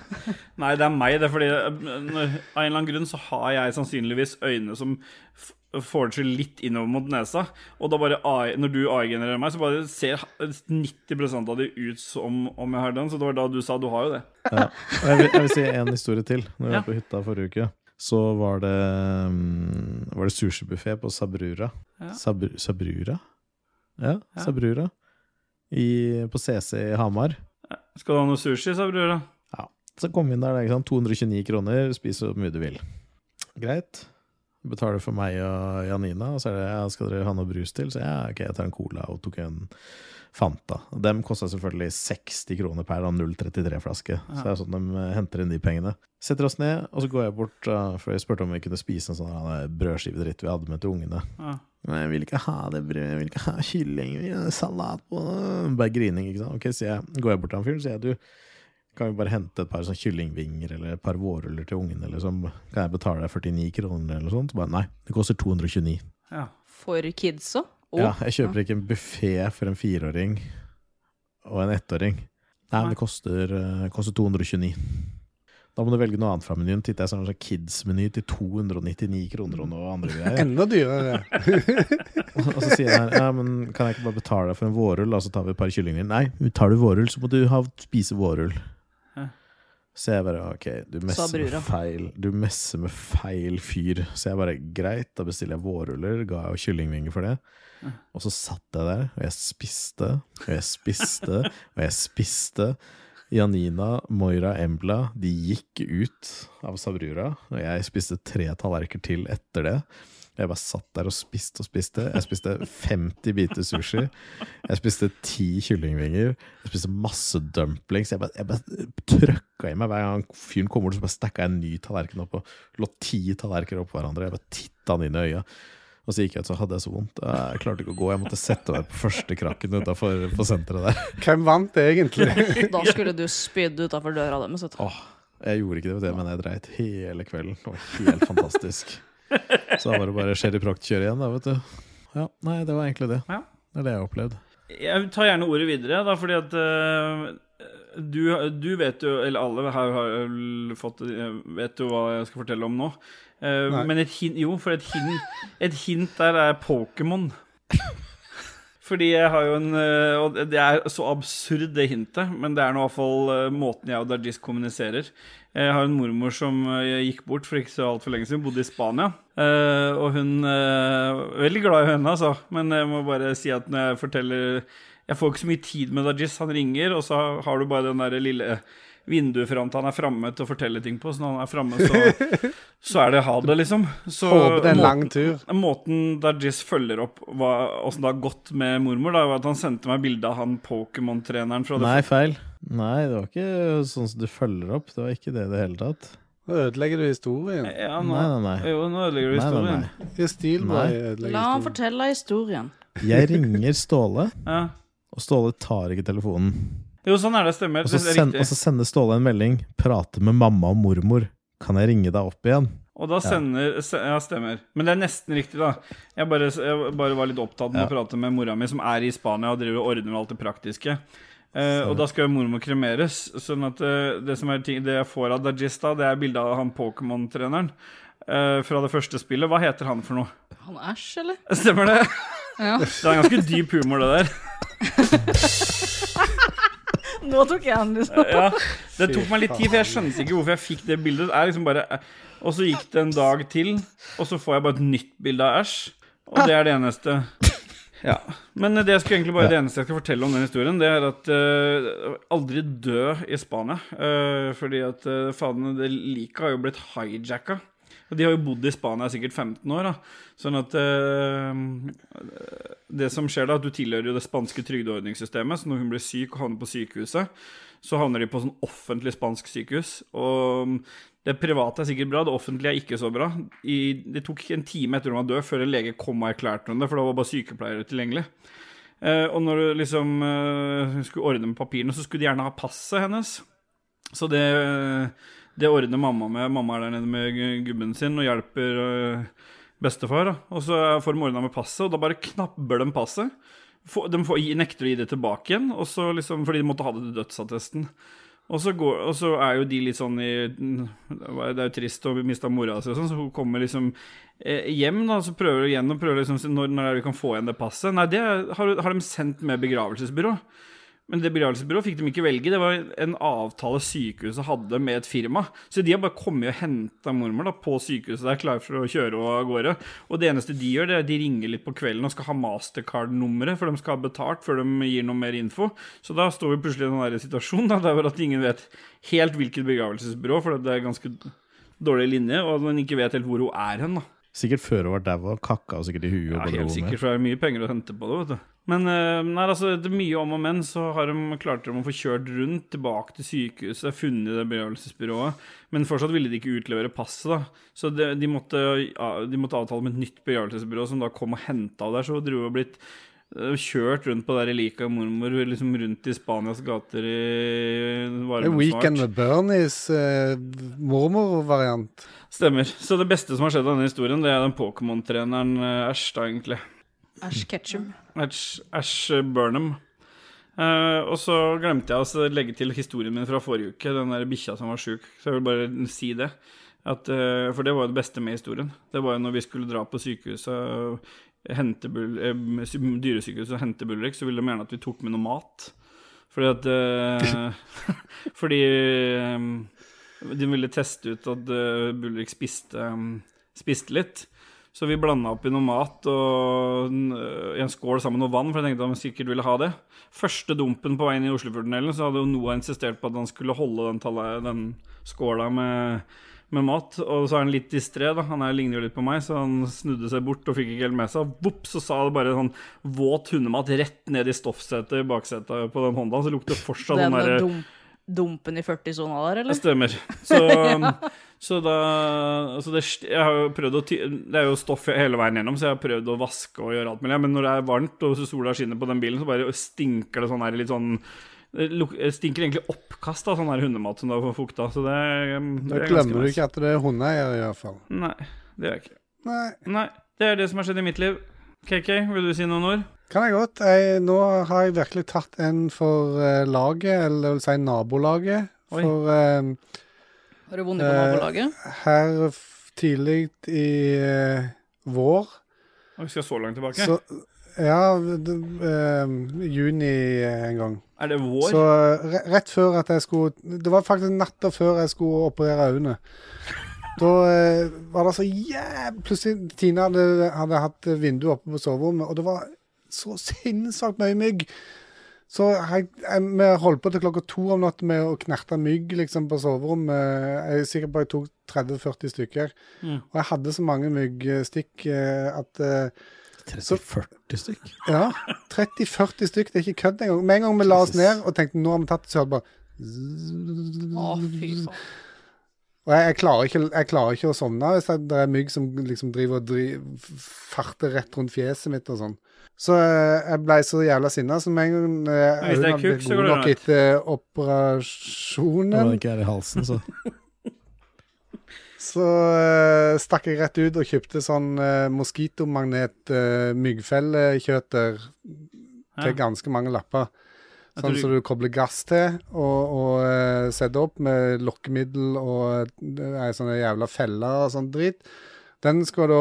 S2: Nei, det er meg. Det er fordi eh, når, Av en eller annen grunn så har jeg sannsynligvis øyne som f- får seg litt innover mot nesa. Og da bare AI, når du AI-genererer meg, så bare ser ha- 90 av det ut som om jeg har den. Så det var da du sa du har jo det.
S1: Ja. Og jeg, vil, jeg vil si en historie til. Når vi
S2: Ja.
S1: var på hytta forrige uke, så var det, mm, var det sushibuffé på Sabrura.
S2: Ja.
S1: Sabr Sabrura? Ja,
S2: Ja.
S1: Sabrura. I, på CC i Hamar.
S2: Skal du ha noe sushi, sa brura?
S1: Så kom vi inn der, ikke sant? 229 kroner, spis så mye du vil. Greit. Betaler for meg og Janina, og så er det ja, skal dere ha noe brus til? Så ja, ok, jeg tar en cola og tok en Fanta. Og Dem kosta selvfølgelig 60 kroner per da, 0,33-flaske. Så det er sånn de eh, henter inn de pengene. Setter oss ned, og så går jeg bort, eh, for jeg spurte om vi kunne spise en sånn her, eh, brødskive dritt vi hadde med til ungene.
S2: Ja.
S1: Nei, jeg vil ikke ha det brød, jeg vil ikke ha kylling, jeg vil ha salat på Bare grining, ikke sant. Ok, så jeg går jeg bort til han fyren, sier jeg du, kan vi bare hente et par sånn kyllingvinger eller et par vårruller til ungene, liksom. Kan jeg betale deg 49 kroner eller sånt? Så bare nei, det koster 229.
S2: Ja.
S4: For kidsa Å,
S1: Ja, jeg kjøper ikke en buffé for en fireåring og en ettåring. Nei, men det koster, eh, koster 229. Da må du velge noe annet fra menyen. Titter jeg sånn sånn kids-meny til 299 kroner og noe andre greier.
S3: Enda dyrere.
S1: Og så sier jeg ja, men kan jeg ikke bare betale deg for en vårrull, da, så tar vi et par kyllinger? Nei, tar du vårrull, så må du ha, spise vårrull.
S2: Hæ?
S1: Så jeg bare ok, du
S4: Sa
S1: messer, med
S4: brura.
S1: feil, du messer med feil fyr. Så jeg bare greit, da bestiller jeg vårruller, ga jeg jo kyllingvinger for det. Og så satt jeg der, og jeg spiste, og jeg spiste, og jeg spiste. Janina, Moira, Embla, de gikk ut av Sabrura, og jeg spiste tre tallerkener til etter det. Jeg bare satt der og spiste og spiste. Jeg spiste 50 biter sushi. Jeg spiste ti kyllingvinger. Jeg spiste masse dumplings. Jeg bare, jeg bare trøkka i meg hver gang fyren kom bort, så bare stakka jeg en ny tallerken opp og lå ti tallerkener oppå hverandre. Jeg bare titta han inn i øya. Og så gikk jeg ut, så hadde jeg så vondt. Jeg klarte ikke å gå. Jeg måtte sette meg på første krakken utafor på senteret der.
S3: Hvem vant egentlig?
S4: Da skulle du spydd utafor døra deres. vet du.
S1: Åh, jeg gjorde ikke det, vet du, men jeg dreit hele kvelden. Det var helt fantastisk. Så da var det bare Sherry Proct kjøre igjen, da, vet du. Ja, nei, det var egentlig det.
S2: Ja.
S1: Det er det jeg har opplevd.
S2: Jeg tar gjerne ordet videre, da, fordi at eh, du, du vet jo Eller alle her har vel fått eh, Vet jo hva jeg skal fortelle om nå. Eh,
S3: Nei.
S2: men et hint Jo, for et hint, et hint der er Pokémon. Fordi jeg har jo en eh, Og det er så absurd, det hintet, men det er nå i hvert fall eh, måten jeg og Dajis kommuniserer. Jeg har en mormor som eh, gikk bort for ikke så altfor lenge siden, bodde i Spania. Eh, og hun uh, Veldig glad i henne, altså, men jeg må bare si at når jeg forteller Jeg får ikke så mye tid med Dajis. Han ringer, og så har du bare den der lille vinduet fram til han er framme til å fortelle ting på. Så når han er framme, så, så er det ha det, liksom. Så
S3: Håper det er en
S2: må-
S3: lang tur.
S2: Måten Dajis følger opp hva- åssen det har gått med mormor, da, var at han sendte meg bilde av han Pokémon-treneren fra det
S1: Nei, feil. Nei, det var ikke sånn som du følger opp. Det var ikke det i det hele tatt.
S3: Nå ødelegger du historien.
S2: ja, nå,
S1: Nei, nei, nei.
S2: Jo, nå ødelegger du
S1: Nei, nei,
S2: historien.
S1: nei.
S3: I stil
S1: Nei.
S3: bare ødelegger
S4: La han
S3: historien.
S4: fortelle historien.
S1: Jeg ringer Ståle,
S2: Ja.
S1: og Ståle tar ikke telefonen.
S2: Jo, sånn er det, stemmer.
S1: Og så,
S2: det er
S1: send,
S2: riktig.
S1: og så sender Ståle en melding. 'Prate med mamma og mormor. Kan jeg ringe deg opp igjen?'
S2: Og da sender se- Ja, stemmer. Men det er nesten riktig, da. Jeg bare, jeg bare var litt opptatt med å prate med mora mi, som er i Spania og driver og ordner med alt det praktiske. Eh, og da skal jo mormor kremeres. Sånn at eh, det, som er ting, det jeg får av Dajista, det er bilde av han Pokémon-treneren eh, fra det første spillet. Hva heter han for noe?
S4: Han æsj, eller?
S2: Stemmer det?
S4: Ja.
S2: Det er ganske dyp humor, det der.
S4: Nå tok jeg han, liksom.
S2: Ja, det tok meg litt tid, for jeg skjønte ikke hvorfor jeg fikk det bildet. Det er liksom bare, og så gikk det en dag til, og så får jeg bare et nytt bilde av Æsj. Og det er det eneste. Ja. Men det skulle egentlig bare det eneste jeg skal fortelle om den historien, det er at eh, aldri dø i Spania. Eh, fordi at eh, faen, det liket har jo blitt hijacka. Og de har jo bodd i Spania i sikkert 15 år, da. Sånn at eh, det som skjer da, at du tilhører jo det spanske trygdeordningssystemet, så når hun blir syk og havner på sykehuset, så havner de på sånn offentlig spansk sykehus. Og det private er sikkert bra, det offentlige er ikke så bra. I, det tok en time etter hun var død før en lege kom og erklærte henne det, for da var bare sykepleiere tilgjengelig. Eh, og når du liksom eh, hun skulle ordne med papirene, så skulle de gjerne ha passet hennes. Så det, det ordner mamma med. Mamma er der nede med gu- gubben sin og hjelper eh, bestefar. Da. Og så får de ordna med passet, og da bare knapper de passet. Få- De får, gi- nekter å gi det tilbake igjen, og så liksom, fordi de måtte ha det til dødsattesten. Og så, går, og så er jo de litt sånn i Det er jo trist å miste mora si, og sånn, så hun kommer liksom eh, hjem, da, og så prøver hun igjen og prøver liksom når, når er det vi kan få igjen det passet? Nei, det har, har de sendt med begravelsesbyrå. Men det begravelsesbyrået fikk de ikke velge. Det var en avtale sykehuset hadde med et firma. Så de har bare kommet og henta mormor da, på sykehuset der, klar for å kjøre og av gårde. Og det eneste de gjør, det er at de ringer litt på kvelden og skal ha Mastercard-nummeret, for de skal ha betalt før de gir noe mer info. Så da står vi plutselig i den der situasjonen da, der hvor at ingen vet helt hvilket begravelsesbyrå, for det er ganske dårlig linje, og man ikke vet helt hvor hun er hen. da.
S1: Sikkert før hun var daua, kakka hun sikkert i huet. og
S2: Ja,
S1: bare
S2: helt
S1: dro med.
S2: sikkert, for det er mye penger å hente på det, vet du. Men eh, nei, altså, etter mye om og men, så har de, klarte de å få kjørt rundt, tilbake til sykehuset, funnet det begravelsesbyrået. Men fortsatt ville de ikke utlevere passet, da. Så det, de, måtte, ja, de måtte avtale med et nytt begravelsesbyrå, som da kom og henta der. Så dro og blitt eh, kjørt rundt på der relika mormor, liksom rundt i Spanias gater i
S3: Det er
S2: varmen
S3: Weekend med Bernies eh, mormor-variant.
S2: Stemmer. Så det beste som har skjedd av denne historien, det er den Pokémon-treneren eh, Æsj, da, egentlig.
S4: Æsj, ketchup.
S2: Ash, Ash Burnham. Eh, og så glemte jeg å altså, legge til historien min fra forrige uke, den der bikkja som var sjuk. Så jeg vil bare si det. At, eh, for det var jo det beste med historien. Det var jo når vi skulle dra på sykehuset, og hente Bul eh, sy- dyresykehuset og hente Bulrik, så ville de gjerne at vi tok med noe mat. Fordi at eh, Fordi eh, de ville teste ut at eh, Bulrik spiste, eh, spiste litt. Så vi blanda oppi noe mat og en, øh, en skål sammen med noe vann, for jeg tenkte han sikkert ville ha det. Første dumpen på veien i Oslofjordtunnelen, så hadde jo Noah insistert på at han skulle holde den, tala- den skåla med, med mat. Og så er han litt distré, da. Han er, ligner jo litt på meg, så han snudde seg bort og fikk ikke helt med seg. Vops, så sa det bare sånn våt hundemat rett ned i stoffsetet i baksetet på den Hondaen. Så lukter det fortsatt sånn
S4: Den
S2: den derre
S4: dum, dumpen i 40-sona der,
S2: det
S4: eller?
S2: stemmer. Så, så da altså det, jeg har jo prøvd å, ty- det er jo stoff hele veien gjennom, så jeg har prøvd å vaske og gjøre alt mulig. Men når det er varmt og sola skinner på den bilen, så bare stinker det sånn her litt sånn det luk- det stinker egentlig oppkast av sånn her hundemat som du har fukta. Så det, det
S3: Da
S2: er ganske
S3: glemmer du
S2: nice.
S3: ikke at det er hundeeier, i hvert fall.
S2: Nei, det gjør jeg ikke.
S3: Nei,
S2: Nei, det er det som har skjedd i mitt liv. KK, vil du si noen ord?
S3: kan jeg godt. Jeg, nå har jeg virkelig tatt en for eh, laget, eller det vil si nabolaget.
S2: Oi.
S3: For eh,
S4: Har du vunnet på
S3: Eh,
S4: nabolaget?
S3: her f- tidlig i eh, vår
S2: Oi, Vi skal så langt tilbake.
S3: så Ja, det, eh, juni en gang.
S2: er det vår?
S3: Så eh, re rett før at jeg skulle Det var faktisk natta før jeg skulle operere øynene. Da eh, var det så jæv... Plutselig Tina hadde, hadde hatt vinduet oppe på soverommet, og det var så sinnssykt mye mygg. Så jeg, jeg, vi holdt på til klokka to om natten med å knerte mygg liksom, på soverommet. Jeg er sikker på jeg tok 30-40 stykker.
S2: Mm.
S3: Og jeg hadde så mange myggstikk eh, at eh,
S1: 30-40 stykk?
S3: ja. 30-40 stykk, det er ikke kødd engang. Med en gang vi la oss
S1: Jesus.
S3: ned og tenkte nå har vi tatt det, så hørte vi bare
S4: Å, fy faen.
S3: Og jeg, jeg, klarer ikke, jeg klarer ikke å sovne hvis det det er mygg som liksom driver og dri, farter rett rundt fjeset mitt og sånn. Så eh, jeg blei så jævla sinna, så med en gang eh,
S2: Hvis det er
S3: øynene ble
S2: kuk, så går
S3: gode
S2: det
S3: nok
S2: greit.
S3: etter
S1: Når
S3: operasjonen,
S1: det ikke er i halsen, så
S3: så eh, stakk jeg rett ut og kjøpte sånn uh, moskitomagnet-myggfellekjøter
S2: Ja.
S3: til ganske mange lapper.
S2: Jeg
S3: Sånn
S2: tror-
S3: som du kobler gass til og, og eh, setter opp med lokkemiddel og eh, ei sånne jævla feller og sånn drit. Den skal da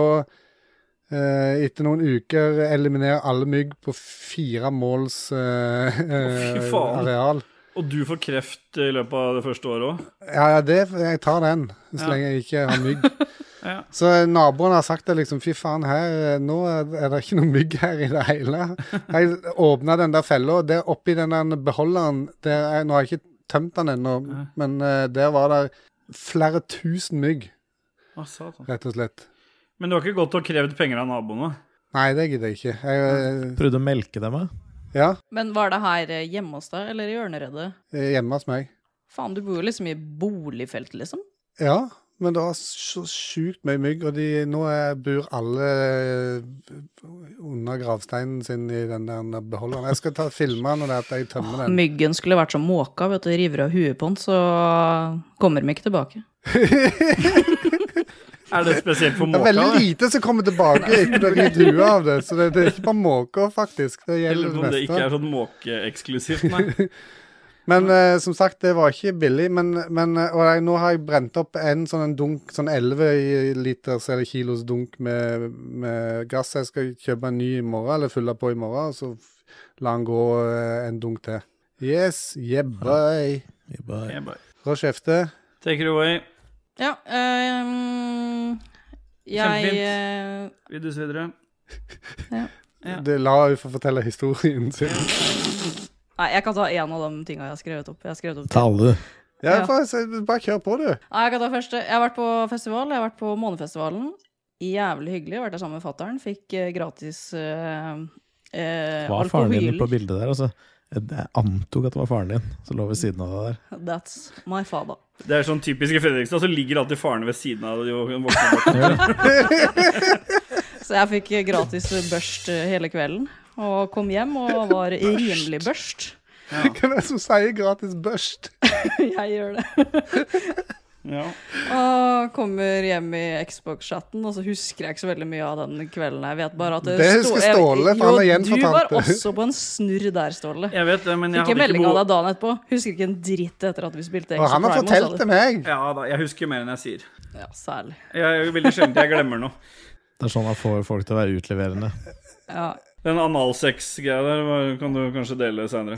S3: eh, etter noen uker eliminere alle mygg på fire måls eh,
S2: fy faen.
S3: areal.
S2: Og du får kreft i løpet av det første året òg?
S3: Ja, ja, det, jeg tar den, så
S2: Ja.
S3: lenge jeg ikke har mygg.
S2: Ja.
S3: Så naboene har sagt det liksom, fy faen, her, nå er det ikke noe mygg her i det hele. Jeg åpna den der fella, og der oppi den der beholderen der, er- Nå har jeg ikke tømt den ennå,
S2: Nei.
S3: men eh, der var det flere tusen mygg,
S2: Å, satan.
S3: rett og slett.
S2: Men du har ikke gått og krevd penger av naboene?
S3: Nei, det gidder jeg ikke. Jeg,
S1: prøvde å melke dem av.
S3: eh, ja,
S4: Men var det her eh, hjemme hos deg, eller i Ørneredet?
S3: eh, hjemme hos meg.
S4: Faen, du bor jo liksom i boligfelt, liksom.
S3: Ja, men det var så sjukt mye mygg, og de, nå er, bor alle eh, under gravsteinen sin i den der beholderen. Jeg skal ta filme når det er at jeg tømmer den.
S4: Myggen skulle vært som måka, vet du. River av huet på den, så kommer de ikke tilbake.
S2: Er det spesielt for
S3: Det er
S2: måka?
S3: veldig lite som kommer tilbake etter du har ridd huet av det, så det, det er ikke bare måker, faktisk. Det
S2: Jeg
S3: gjelder
S2: lurer på
S3: det
S2: om det ikke
S3: meste.
S2: er sånn måkeeksklusivt, nei.
S3: Men eh, som sagt, det var ikke billig. Men, men eh, og jeg, nå har jeg brent opp en sånn en dunk, sånn 11 liters eller kilos dunk med, med gass. Jeg skal kjøpe en ny i morgen, eller fylle på i morgen, og så f- la den gå eh, en dunk til. Yes, yeah, boy.
S1: Vi bare-
S2: Jeg bare-
S3: Rå kjefte.
S2: Take it away.
S4: Ja, ehm, jeg eh,
S2: Vi duser videre. Ja.
S3: Det la henne få fortelle historien sin.
S4: Nei, jeg kan ta én av de tinga jeg har skrevet opp. Jeg har skrevet opp
S1: Ta alle, du.
S3: Ja,
S4: Ja.
S3: Bare, bare kjør på, du.
S4: Nei, jeg kan ta første. Jeg har vært på festival. Jeg har vært på Månefestivalen. Jævlig hyggelig. Jeg har Vært der sammen med fatter'n. Fikk eh, gratis eh, eh,
S1: Var faren din på
S4: alkoholer.
S1: bildet der, altså? Jeg jeg antok at det var faren din som lå ved siden av deg der.
S4: That's my father.
S2: Det er sånn typisk i Fredrikstad, så ligger alltid farene ved siden av de voksne.
S4: Så jeg fikk eh, gratis børst eh, hele kvelden. Og kom hjem og var rimelig børst.
S3: Hvem er det som sier gratis børst?
S4: Jeg gjør det.
S2: Ja.
S4: Og kommer hjem i Xbox-chatten, og så husker jeg ikke så veldig mye av den kvelden. Jeg vet bare at
S3: Det husker
S4: jeg-
S3: Ståle, for han har
S4: Jo, du
S3: gjenfortalt
S4: var
S3: det.
S4: også på en snurr der, Ståle.
S2: Jeg vet det, men jeg
S4: Fikk en
S2: hadde ikke
S4: melding av
S2: behov
S4: deg dagen etterpå. Husker ikke en dritt etter at vi
S3: Og
S4: spilte Exo
S3: han har
S4: Primal,
S3: fortalt
S4: sa
S3: til
S4: du.
S3: meg.
S2: Ja da, jeg husker mer enn jeg sier.
S4: Ja, særlig.
S2: Jeg er jo veldig sjelden jeg glemmer noe.
S1: Det er sånn han får folk til å være utleverende.
S4: Ja.
S2: Den analsex-greia der var- kan du kanskje dele seinere.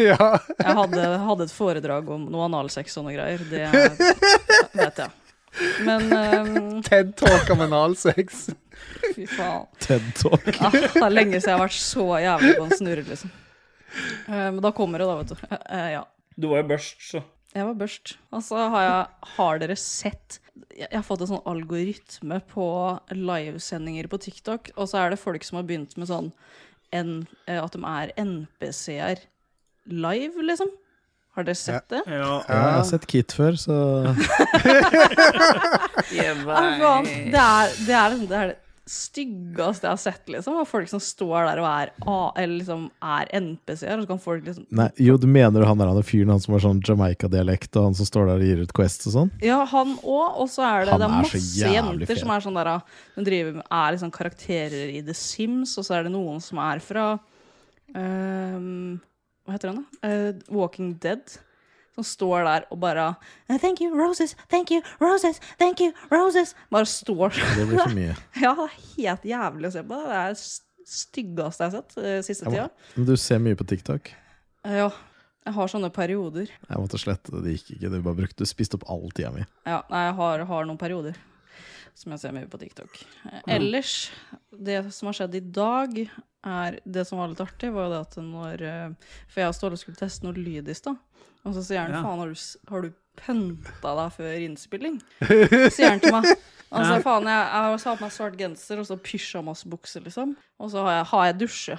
S3: ja.
S4: Jeg hadde, hadde et foredrag om noe analsex og noe greier. Det vet jeg. Men ehm,
S3: Ted Talk om analsex.
S4: fy faen.
S1: TED Talk.
S4: Ah, det er lenge siden jeg har vært så jævlig på en snurre, liksom. Eh, Men da kommer det, da, vet du. Eh, eh, ja.
S2: Du var jo børst, så.
S4: Jeg var børst. Og så har, jeg, har dere sett Jeg jeg har fått en sånn algoritme på livesendinger på TikTok, og så er det folk som har begynt med sånn en, eh, at de er NPC-er live, liksom. Har dere sett det?
S2: Ja.
S1: Ja, jeg har sett Kit før, så
S4: Ja, men faen, det, er, det, er, liksom- det er det styggeste jeg har sett, liksom. Og folk som står der og er, A- eller liksom, er NPC-er, og så kan folk liksom
S1: Nei, jo, du mener han der han er fyren han som har sånn Jamaica-dialekt, og han som står der og gir ut Quest og sånn?
S4: Ja, han òg. Og så er det,
S1: Han
S4: det
S1: er
S4: er
S1: så
S4: masse
S1: jævlig
S4: jenter
S1: fet.
S4: som er sånn der, ah, de driver med, er liksom karakterer i The Sims, og så er det noen som er fra ehm, Hva heter den, da? Eh, Walking Dead. Som står der og bare eh, Thank you, roses, thank you, roses, thank you, roses. Bare står
S1: Det blir for mye.
S4: Ja, det er helt jævlig å se på. Det er det styggeste jeg har sett eh, siste
S1: Jeg må,
S4: tida.
S1: men du ser mye på TikTok.
S4: Eh, ja. Jeg har sånne perioder.
S1: Jeg måtte slette det. Det gikk ikke. Du bare brukte, du spiste opp all tida mi.
S4: Ja, nei, jeg har, har noen perioder som jeg ser mye på TikTok. Eh, Ellers, det som har skjedd i dag, er Det som var litt artig, var jo det at når eh, For jeg og Ståle skulle teste noe lyd i stad, og så sier han
S2: Ja.
S4: faen, har du, s- har du pønta deg før innspilling? Sier han til meg. Altså,
S2: Ja.
S4: faen, jeg, jeg har satt på meg svart genser og så pysjamasbukse, liksom. Og så har jeg, har jeg dusje.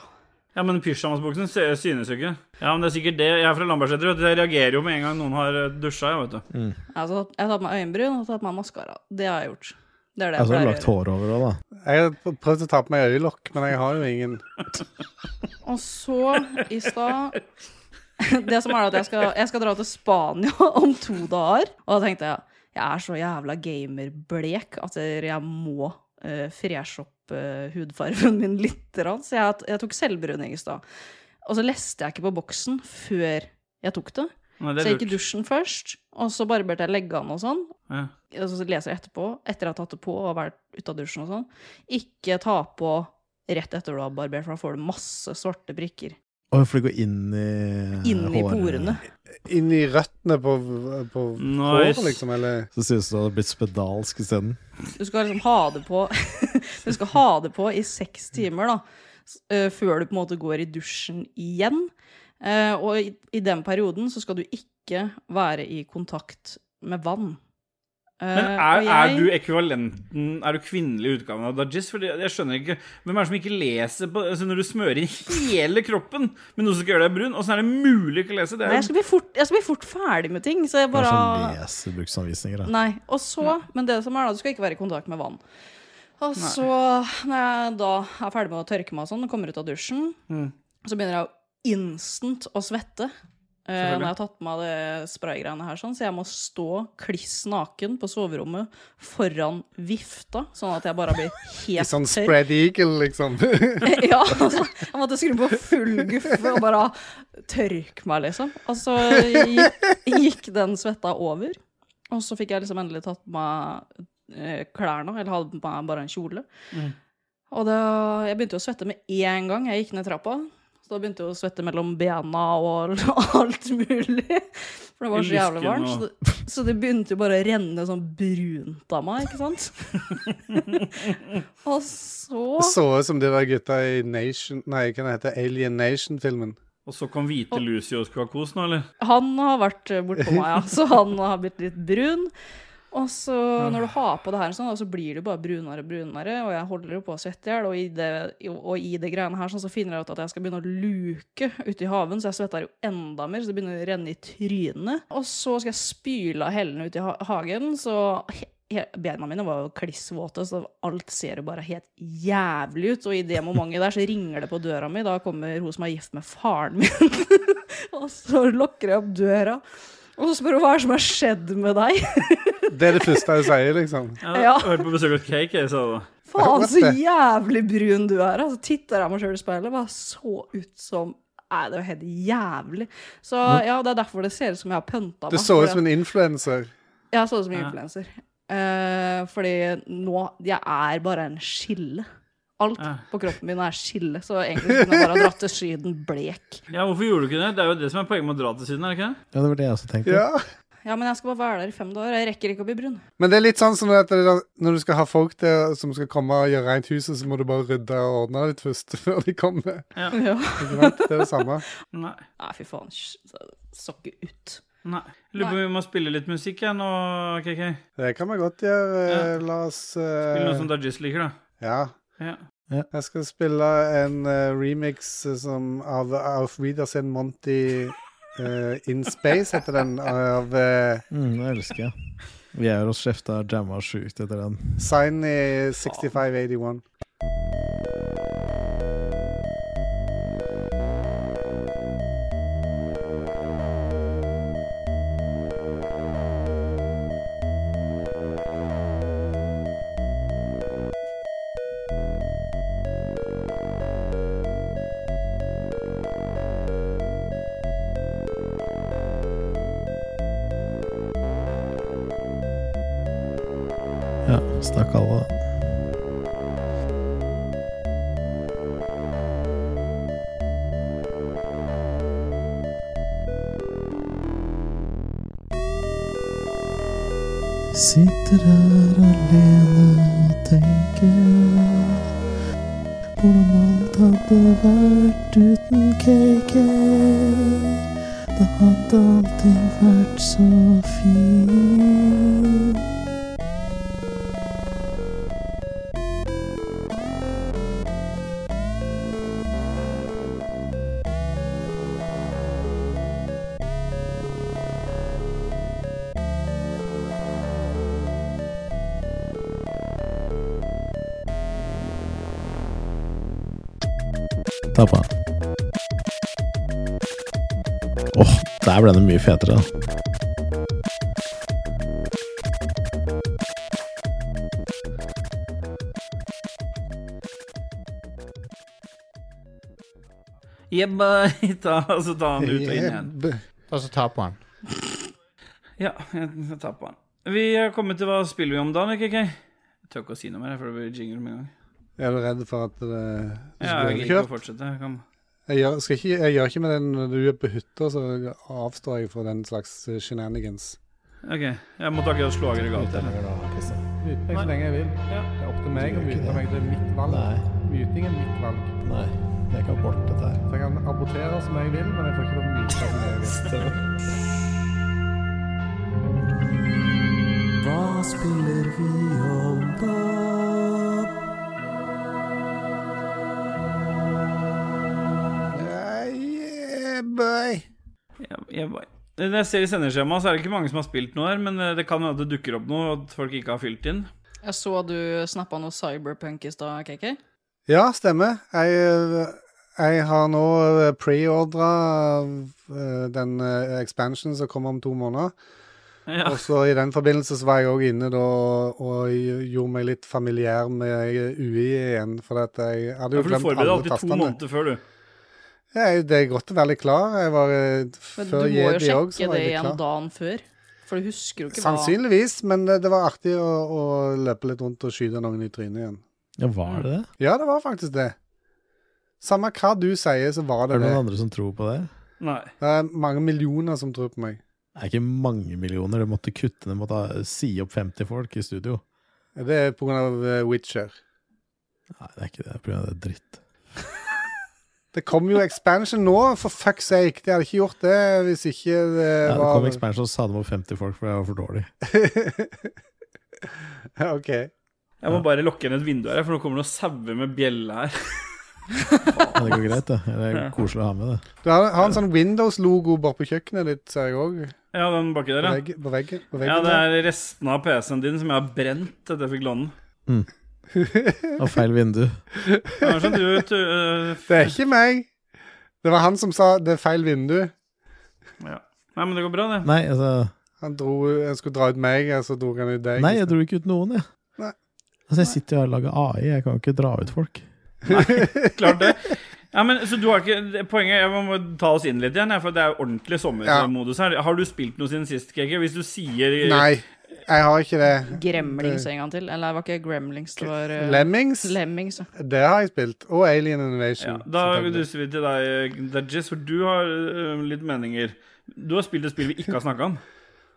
S2: ja, men pysjamasbuksen sy- synes jo ikke. Ja, men det er sikkert det. Jeg er fra Lambertseter, og jeg reagerer jo med en gang noen har eh, dusja, jeg, vet du.
S4: Altså, jeg har tatt på meg øyenbryn og tatt på meg maskara. Det har jeg gjort. Det er
S1: Jeg
S4: det jeg
S1: Altså, har
S4: pleier å
S1: lagt
S4: gjøre.
S1: hår over òg, da.
S3: Jeg har pr- prøvd å ta på meg øyelokk, men jeg har jo ingen.
S4: Og så i stad Det som er at jeg skal, jeg skal dra til Spania om to dager. Og da tenkte jeg jeg er så jævla gamerblek at jeg må uh, freshe opp eh, hudfargen min litt. grann. Så jeg, jeg tok selvbruning i stad. Og så leste jeg ikke på boksen før jeg tok det.
S2: Nei,
S4: Så
S2: det
S4: jeg
S2: er
S4: gikk i
S2: lurt.
S4: dusjen først, og så barberte jeg leggene og sånn.
S2: Ja.
S4: Og så leser jeg etterpå, etter jeg har tatt det på og vært ute av dusjen og sånn. Ikke ta på rett etter du har barbert, for da får du masse svarte prikker
S1: Å, for det går inn i eh,
S4: inn i porene.
S3: Inn i røttene på, på
S2: Nice.
S3: håret, liksom, eller
S1: Så synes du det hadde blitt spedalsk isteden.
S4: Du skal liksom ha det på Du skal ha det på i seks timer, da. s- eh, Før du på en måte går i dusjen igjen. Eh, Og i, i den perioden så skal du ikke være i kontakt med vann. Eh,
S2: Men er, er du ekvivalenten Er du kvinnelig utgaven av Dajis? For jeg skjønner ikke Hvem er det som ikke leser på altså Når du smører inn hele kroppen med noe som skal gjøre deg brun, åssen er det mulig å ikke lese? Det
S4: Nei, jeg
S2: er
S4: skal, bli fort, jeg skal bli fort ferdig med ting, så jeg
S1: Det er
S4: bare
S1: sånn leser bruksanvisninger, da.
S4: Nei. Og så, men det som er da, du skal ikke være i kontakt med vann. Og så, når jeg da er ferdig med å tørke meg og sånn, og kommer ut av dusjen,
S2: Mm.
S4: så begynner jeg jo instant å svette. Eh,
S2: Selvfølgelig.
S4: når jeg har tatt på meg det spraygreiene her, sånn, så jeg må stå kliss naken på soverommet foran vifta, sånn at jeg bare blir
S3: i
S4: helt
S3: sånn
S4: tørr.
S3: spread eagle, liksom.
S4: Ja, altså, jeg måtte skru på full guffe og bare tørke meg, liksom. Og så gikk, gikk den svetta over. Og så fikk jeg liksom endelig tatt på meg eh, klærne, eller hadde på meg bare en kjole.
S2: Mm.
S4: Og da, jeg begynte jo å svette med én gang jeg gikk ned trappa. Så da begynte jeg å svette mellom bena og alt mulig. For det var
S2: I
S4: så jævlig
S2: lysken
S4: varmt. Så
S2: og-
S4: det, så det begynte jo bare å renne sånn brunt av meg, ikke sant? og så
S3: Så ut som de der gutta i Nation Nei, hva heter det? Alien Nation-filmen.
S2: Og så kom hvite Lucy og skulle ha kos nå, eller?
S4: Han har vært eh, bortpå meg, ja. Så han har blitt litt brun. Og så når du har på det her, sånn, da, så blir du bare brunere og brunere. Og jeg holder jo på å svette i hjel. Og, i det- og i det greiene her sånn, så finner jeg ut at jeg skal begynne å luke ute i haven. Så jeg svetter jo enda mer, så det begynner å renne i trynet. Og så skal jeg spyle av hellene ute i ha hagen, så he he- Beina mine var jo klissvåte, så alt ser jo bare helt jævlig ut. Og i det momentet der så ringer det på døra mi. Da kommer hun som er gift med faren min. Og så lukker jeg opp døra. Og så spør hun hva er det som har skjedd med deg.
S3: Det er det første jeg sier, liksom.
S2: Ja,
S4: Ja.
S2: Vært på besøk hos KK, sa du.
S4: Faen,
S3: What
S4: så
S3: the-
S4: jævlig brun du er. Altså, titter jeg meg sjøl i speilet, bare så ut som Nei, det var helt jævlig. Så ja, det er derfor det ser ut som jeg har pønta meg.
S3: Du så ut
S4: fordi
S3: som en influenser.
S4: at- Jeg så ut som en
S2: Ja.
S4: influenser. Eh, fordi nå Jeg er bare en skille. Alt
S2: Ja.
S4: på kroppen min er skille, så egentlig kunne jeg bare ha dratt til Syden blek.
S2: Ja, hvorfor gjorde du ikke det? Det er jo det som er poenget med å dra til Syden, er det ikke det?
S1: Ja, det var det jeg også tenkte.
S3: Ja.
S4: Ja, men jeg skal bare være der i fem dager. Jeg rekker ikke å bli brun.
S3: Men det er litt sånn som at det der, når du skal ha folk der som skal komme og gjøre rent huset, så må du bare rydde og ordne litt først, før de kommer.
S4: Ja.
S3: Ikke sant? Det er det samme.
S2: Nei.
S4: Nei, fy faen. sj- Sokke ut.
S2: Nei. Jeg Lurer på om vi må spille litt musikk jeg, nå, KK.
S3: Det kan vi godt gjøre. eh, La oss eh,
S2: Spille noe som Dajis liker, da.
S3: Ja.
S2: Ja.
S3: Jeg skal spille en eh, remix eh, som av Auf Wiedersehen Monty eh, In Space, heter den, av eh,
S1: Mm, det elsker jeg. Vi er hos Skjefta jamma sjukt etter den.
S3: Signy 6581.
S1: Ja, stakk alle. Sitter her alene og tenker hvordan alt hadde vært uten cake. Da hadde allting vært så fint. Tappa. Åh, der ble det mye fetere. da.
S2: Jebba, eh, ta, og så ta han ut og inn igjen.
S5: Og så ta på den.
S2: Ja, jeg tar på han. Vi har kommet til hva spiller vi om dagen, KK? Jeg tør ikke å si noe mer, for det blir jingle med en gang.
S3: Er du redd for at eh, det
S2: Ja, jeg
S3: blir
S2: gidder
S3: kjørt?
S2: ikke å fortsette. Jeg kan...
S3: Jeg gjør, skal ikke, jeg gjør ikke med den når du er på hytta, så avstår jeg fra den slags eh, shenanigans.
S2: Ok, jeg måtte akkurat slå aggregatet. eller?
S5: Mute meg så lenge jeg vil.
S2: Ja.
S5: Det er opp til
S1: meg å mute meg.
S5: Det er mitt
S1: Nei,
S5: Muting er mitt valg.
S1: nei. Det er ikke abort, dette her.
S5: Så jeg kan abortere som jeg vil, men jeg får ikke lov til å myte som jeg vil.
S6: Hva spiller vi om da?
S3: Yeah, boy.
S2: Jeg, jeg, bare- Eh, når jeg ser i sendeskjemaet, så er det ikke mange som har spilt noe her, men eh, det kan hende at det dukker opp noe, og at folk ikke har fylt inn.
S4: Jeg så du snappa noe cyberpunk i stad, KK.
S3: Ja, stemmer. Jeg, eh, jeg har nå eh, preordra eh, den eh, expansionen som kommer om to måneder.
S2: Ja.
S3: Og så I den forbindelse så var jeg òg inne da, og gjorde meg litt familiær med UI igjen. For at jeg hadde
S2: Ja,
S3: jo
S2: for du
S3: glemt
S2: forbereder
S3: alle
S2: alltid to
S3: tastene.
S2: måneder før, du.
S3: Ja, jeg- det er godt å være litt klar. Jeg var, eh,
S4: Men
S3: før
S4: du må jo
S3: Jedi også, så
S4: sjekke
S3: var
S4: det
S3: jeg litt
S4: igjen
S3: klar.
S4: dagen før. For du husker jo ikke hva
S3: Sannsynligvis, men det, det var artig å, å løpe litt rundt og skyte noen i trynet igjen.
S1: Ja, var det det?
S3: Ja, det var faktisk det. Samme hva du sier, så var
S1: Er det
S3: det det.
S1: noen andre som tror på det?
S2: Nei.
S3: Det er mange millioner som tror på meg.
S1: Det er ikke mange millioner. De måtte kutte, de måtte ha- si opp 50 folk i studio.
S3: Det er på grunn av eh, Witcher.
S1: Nei, det er ikke det. Det er på grunn av det dritt.
S3: Det kom jo expansion nå, for fuck's sake. De hadde ikke gjort det hvis ikke Eh, det
S1: Ja, det
S3: var
S1: kom expansion og sa de opp 50 folk, for det var for dårlig.
S3: Ja, OK.
S2: Jeg må bare lokke inn et vindu her, for nå kommer det noen sauer med bjelle her.
S1: Men det går greit, det. Det er koselig å ha med, det.
S3: Du har, har en sånn Windows-logo bare på kjøkkenet ditt, ser jeg òg.
S2: Ja, den baki
S3: På,
S2: der, ja.
S3: veggen- på veggen.
S2: Ja,
S3: På veggen
S2: det
S3: der.
S2: er restene av PC-en din som jeg har brent etter jeg fikk låne den.
S1: Og feil vindu.
S2: Ja, men sånn, du, du, øh,
S3: det er ikke meg. Det var han som sa 'det er feil vindu'.
S2: ja. Nei, men det går bra, det.
S1: Nei, altså
S3: Han dro, han skulle dra ut meg, og så dro han ut deg.
S1: Nei, jeg dro ikke ut noen, jeg.
S3: Nei.
S1: Altså, jeg sitter jo her og lager AI, jeg kan jo ikke dra ut folk.
S2: Klart det. Ja, men, så du har ikke, det- poenget Jeg må ta oss inn litt igjen, jeg, for det er jo ordentlig sommermodus her. Har du spilt noe siden sist, KK? Hvis du sier
S3: Nei, jeg har ikke det.
S4: Gremlings en gang til. Eller det var ikke Gremlings, det var eh,
S3: Lemmings,
S4: Lemmings. ja.
S3: det har jeg spilt. Og Alien
S2: ja,
S3: Innovation.
S2: Da
S3: selvfølgelig.
S2: duser vi til deg, Dajis, for du har øh, litt meninger. Du har spilt et spill vi ikke har snakka om.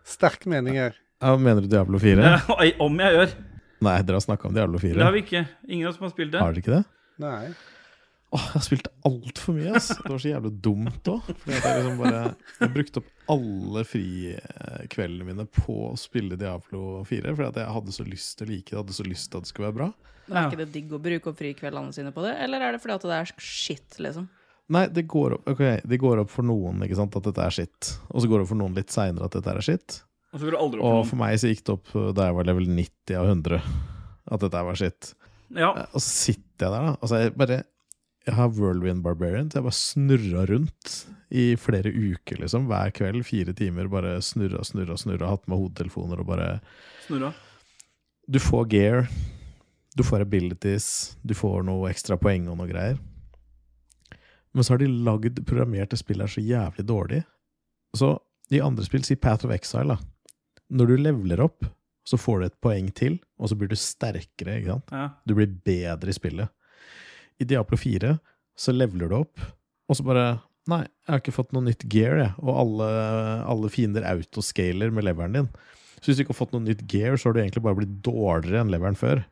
S3: Sterke meninger.
S1: Ja, mener du Diablo 4?
S2: Oi, om jeg gjør.
S1: Nei, dere har snakka om Diablo
S2: Det
S1: 4.
S2: har vi ikke. Ingen av oss som har spilt det.
S1: Har dere ikke det?
S3: Nei.
S1: Åh, jeg har spilt altfor mye, ass. Det var så jævlig dumt òg. Jeg, liksom bare- jeg brukte opp alle frikveldene mine på å spille Diablo 4. Fordi at jeg hadde så lyst til å like det, hadde så lyst til at det skulle være bra.
S4: Men er ikke det digg å bruke opp frikveldene sine på det? Eller er det fordi at det er shit, liksom?
S1: Nei, det går opp, ok, det går opp for noen ikke sant, at dette er skitt. Og så går det opp for noen litt seinere at dette er skitt.
S2: Og så går det aldri
S1: Og
S2: opp.
S1: for meg så gikk det opp eh, da jeg var level 90 av 100 at dette her var skitt.
S2: for noen. Ja.
S1: Og så sitter jeg der, da. Altså, jeg bare Jeg har Whirlwind Barbarian, så jeg bare snurra rundt i flere uker, liksom. Hver kveld, fire timer, bare snurra, snurra, snurra. Hatt med hodetelefoner og bare
S2: Snurra.
S1: Du får gear, du får abilities, du får noe ekstra poeng og noe greier. Men så har de lagd programmerte spill her så jævlig dårlig. Så i andre spill, si Path of Exile, da. Når du leveler opp, så får du et poeng til, og så blir du sterkere, ikke sant?
S2: Ja.
S1: Du blir bedre i spillet. I Diablo 4 så leveler du opp, og så bare Nei, jeg har ikke fått noe nytt gear, jeg. Og alle, alle fiender autoscaler med leveren din. Så hvis du ikke har fått noe nytt gear, så har du egentlig bare blitt dårligere enn leveren før.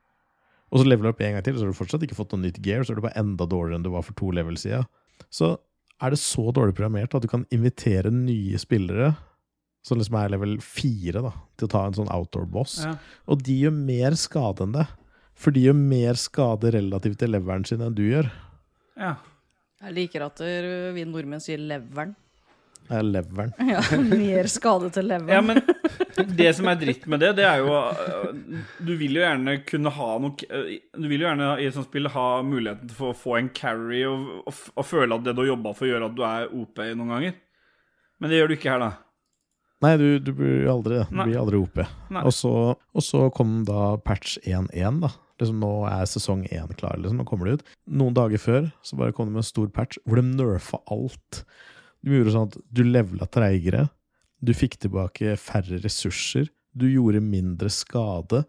S1: Og så leveler du opp en gang til, så har du fortsatt ikke fått noe nytt gear, så er du bare enda dårligere enn du var for to level siden. Så er det så dårlig programmert at du kan invitere nye spillere, som liksom er level 4, da, til å ta en sånn outdoor-boss.
S2: Ja.
S1: Og de gjør mer skade enn det. For de gjør mer skade relativt til leveren sin enn du gjør.
S2: ja.
S4: Jeg liker at eh, vi nordmenn sier leveren.
S1: Det er leveren.
S4: Ja, Mer skade til leveren.
S2: Ja, men det som er dritt med det, det er jo øh, Du vil jo gjerne kunne ha noe øh, Du vil jo gjerne i et sånt spill ha muligheten for å få en carry og, og, f- og føle at det du har jobba for, gjør at du er OP noen ganger. Men det gjør du ikke her, da.
S1: Nei, du, du blir jo aldri det. Du
S2: Nei.
S1: blir aldri OP.
S2: Nei.
S1: Og så, og så kom da patch 1.1, da. Liksom nå er sesong 1 klar, liksom. Nå kommer det ut. Noen dager før så bare kom det med en stor patch hvor de nerfa alt. De gjorde sånn at du levela treigere, du fikk tilbake færre ressurser, du gjorde mindre skade.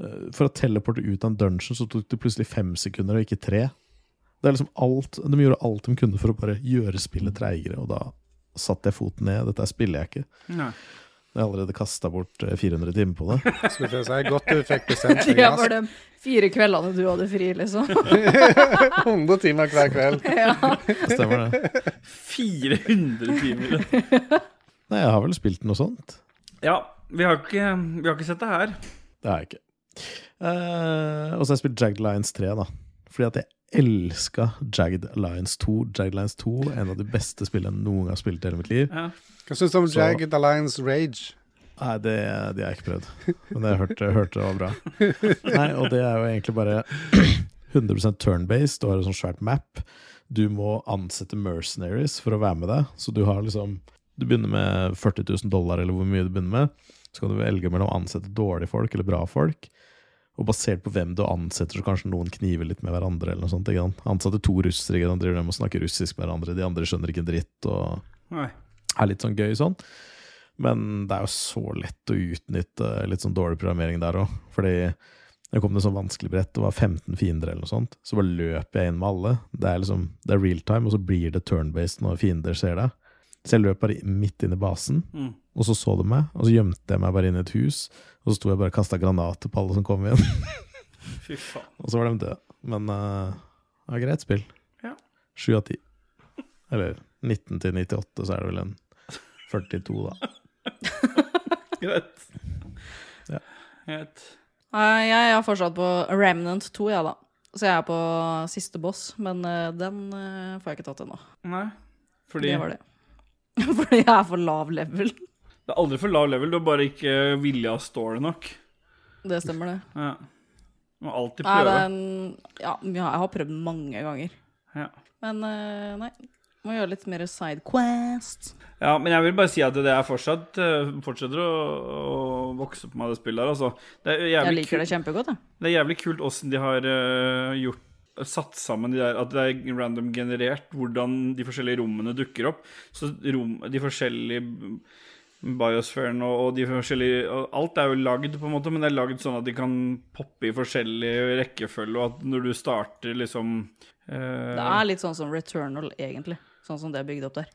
S1: Eh, For å teleporte ut av en dungeon så tok det plutselig fem sekunder og ikke tre. Det er liksom alt, De gjorde alt de kunne for å bare gjøre spillet treigere, og da satte jeg foten ned. Dette spiller jeg ikke.
S2: Nei.
S1: Jeg har allerede kasta bort eh, 400 timer på det.
S3: Skulle til å si. Godt du fikk bestemt deg.
S4: Det var
S3: ass.
S4: de fire kveldene du hadde fri, liksom.
S3: 100 sånn, timer hver kveld.
S1: Stemmer det?
S2: 400 timer.
S1: Nei, jeg har vel spilt noe sånt.
S2: Ja, vi har ikke, vi har ikke sett det her.
S1: Det har jeg ikke. Eh, og så har jeg spilt Jagged Lions 3, da. Fordi at jeg elska Jagged Lions 2. Jagged Lions 2 er en av de beste spillene jeg noen gang har spilt i hele mitt liv.
S2: Ja.
S3: Hva syns du om
S1: Så-
S3: Jagged Alliance Rage?
S1: Nei, det, det har jeg ikke prøvd. Men jeg hørte, hørte det var bra. Nei, og det er jo egentlig bare 100 turn-based. Du har et sånt svært map. Du må ansette mercenaries for å være med deg. Så du har liksom Du begynner med 40 000 dollar, eller hvor mye du begynner med. Så kan du velge mellom å ansette dårlige folk eller bra folk. Og basert på hvem du ansetter, så kanskje noen kniver litt med hverandre. eller noe sånt, ikke sant? Ansatte to russere, ikke sant? driver dem og snakker russisk med hverandre. De andre skjønner ikke en dritt. og
S2: Nei.
S1: er litt sånn gøy sånn. Men det er jo så lett å utnytte litt sånn dårlig programmering der òg. Fordi det kom til et sånn vanskelig brett, det var 15 fiender eller noe sånt. Så bare løper jeg inn med alle. Det er liksom, det er real time, og så blir det turn-based når fiender ser deg. Så jeg løp bare midt inn i basen,
S2: Mm.
S1: og så så de meg. Og så gjemte jeg meg bare inn i et hus, og så sto jeg bare og kasta granater på alle som kom inn.
S2: Fy faen.
S1: Og så var de døde. Men eh, det var greit spill.
S2: Ja.
S1: 7 av 10. Eller 19 til 98, så er det vel en 42, da.
S2: Greit.
S1: Ja.
S2: Greit.
S4: Nei, Jeg er fortsatt på Remnant 2, jeg, da. Så jeg er på siste boss, men eh, den eh, får jeg ikke tatt ennå.
S2: Nei. Fordi
S4: Det
S2: det,
S4: var det. Fordi jeg er for lav level.
S2: er aldri for lav level, du har bare ikke vilja å stå det nok.
S4: Det stemmer, det.
S2: Ja. Må alltid
S4: Nei,
S2: prøve.
S4: den, ja, ja, jeg har prøvd mange ganger.
S2: Ja.
S4: Men eh, nei. Må gjøre litt mer side quest.
S2: Ja, men jeg vil bare si at det er fortsatt eh, fortsetter å, å vokse på meg, det spillet her. Altså. Det er
S4: Jeg
S2: jævlig,
S4: liker det
S2: kult,
S4: kjempegodt, jeg.
S2: det er jævlig kult åssen de har eh, gjort Satt sammen de der, at det er random generert hvordan de forskjellige rommene dukker opp. Så rom, de forskjellige biosfæren og, og de forskjellige og Alt er jo lagd, på en måte, men det er lagd sånn at de kan poppe i forskjellig rekkefølge, og at når du starter liksom eh,
S4: Det er litt sånn som Returnal, egentlig. Sånn som det er bygd opp der.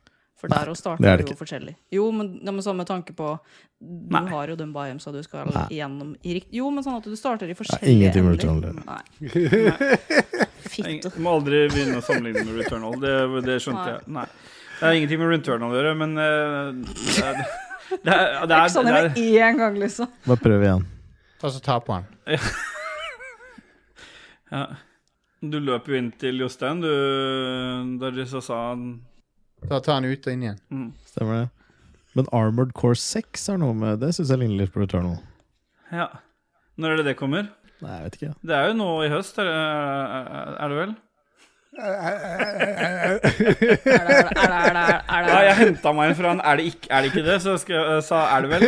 S4: For der å starte
S1: det er
S4: er
S1: det
S4: jo forskjellig. Jo, men, ja, men sånn med tanke på Du
S2: Nei.
S4: har jo den biomsa du skal
S1: Nei.
S4: gjennom i rikt... Jo, men sånn at du starter i
S1: Ja,
S4: forskjellige
S1: ingenting med
S4: ender.
S1: Returnal å gjøre.
S4: Nei.
S2: Ing-
S4: Fitte.
S2: Du må aldri begynne å sammenligne med Returnal. Det, det skjønte
S4: Nei.
S2: jeg. Nei. Det har ingenting med Returnal å gjøre, men eh, det er, det er, det
S4: Det er
S2: er,
S4: ikke sånn
S2: det
S4: jeg
S2: er,
S4: med én gang, liksom.
S1: Bare prøv igjen.
S7: Og så ta på den.
S2: ja. Du løp jo inn til Jostein, du, der de så sa han
S7: Ta, ta den ut og inn igjen.
S2: mm.
S1: Stemmer det. Men Armored Core 6 er noe med Det syns jeg ligner litt på Returnal.
S2: Ja. Når er det det kommer?
S1: Nei, jeg vet ikke.
S2: Det er jo nå i høst, er, det- er det vel?
S4: Er det, er det, er det, er det, er det,
S2: Ja,
S4: er
S2: jeg
S4: det.
S2: henta meg en fra han Er det ikke er det, ikke det? Så skal, jeg- eh, sa er det vel?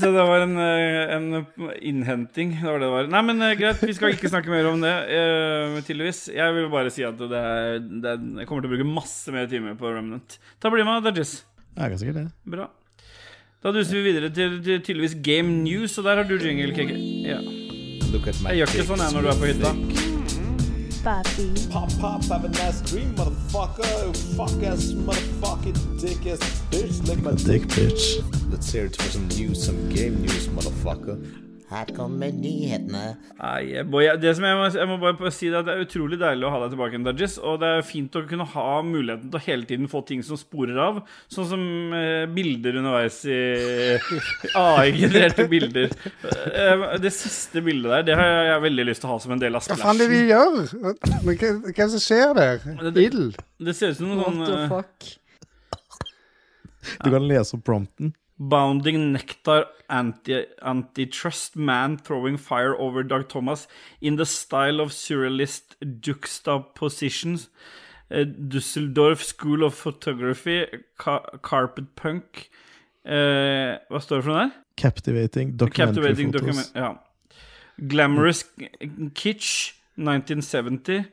S2: Så det var en, eh, en innhenting. Det var det det var. Nei, men eh, greit, vi skal ikke snakke mer om det, eh, tydeligvis. Jeg vil bare si at det er, det er Jeg kommer til å bruke masse mer timer på Remnant. Ta bli med, Dodges.
S1: Jeg er ganske sikker det.
S2: Bra. Da duser vi videre til, til tydeligvis Game News, og der har du jingle, KK. Ja. Jeg gjør ikke sånn jeg når du er på hytta.
S8: Pop, pop, have a nice dream, motherfucker. Fuck ass, motherfucking dick ass, bitch. Lick my dick.
S1: Dick bitch.
S8: Let's hear it for some news, some game news, motherfucker.
S9: Her kommer nyhetene.
S2: Nei, jeg- boy, jeg- det som jeg må, jeg må bare si det, er at det er utrolig deilig å ha deg tilbake igjen, Dodges. Og det er fint å kunne ha muligheten til å hele tiden få ting som sporer av. Sånn som eh, bilder underveis i AI-genererte bilder. Eh, det siste bildet der, det har jeg, jeg veldig lyst til å ha som en del av
S3: Hva faen er det vi
S2: splashen.
S3: gjør? Men hva, hva er det som skjer der?
S2: Det- det-
S3: Ild?
S2: Det ser ut som noe
S4: What the
S2: sånn eh,
S4: fuck?
S1: Du kan lese opp prompten.
S2: Bounding Nectar anti, Antitrust Man Throwing Fire Over Doug Thomas in the Style of Surrealist Juxtapositions. eh, Düsseldorf School of Photography, Ca Carpet Punk eh, Hva står det for noe der?
S1: Captivating documentary
S2: Captivating
S1: photos.
S2: document... Ja. Glamorous Kitsch 1970.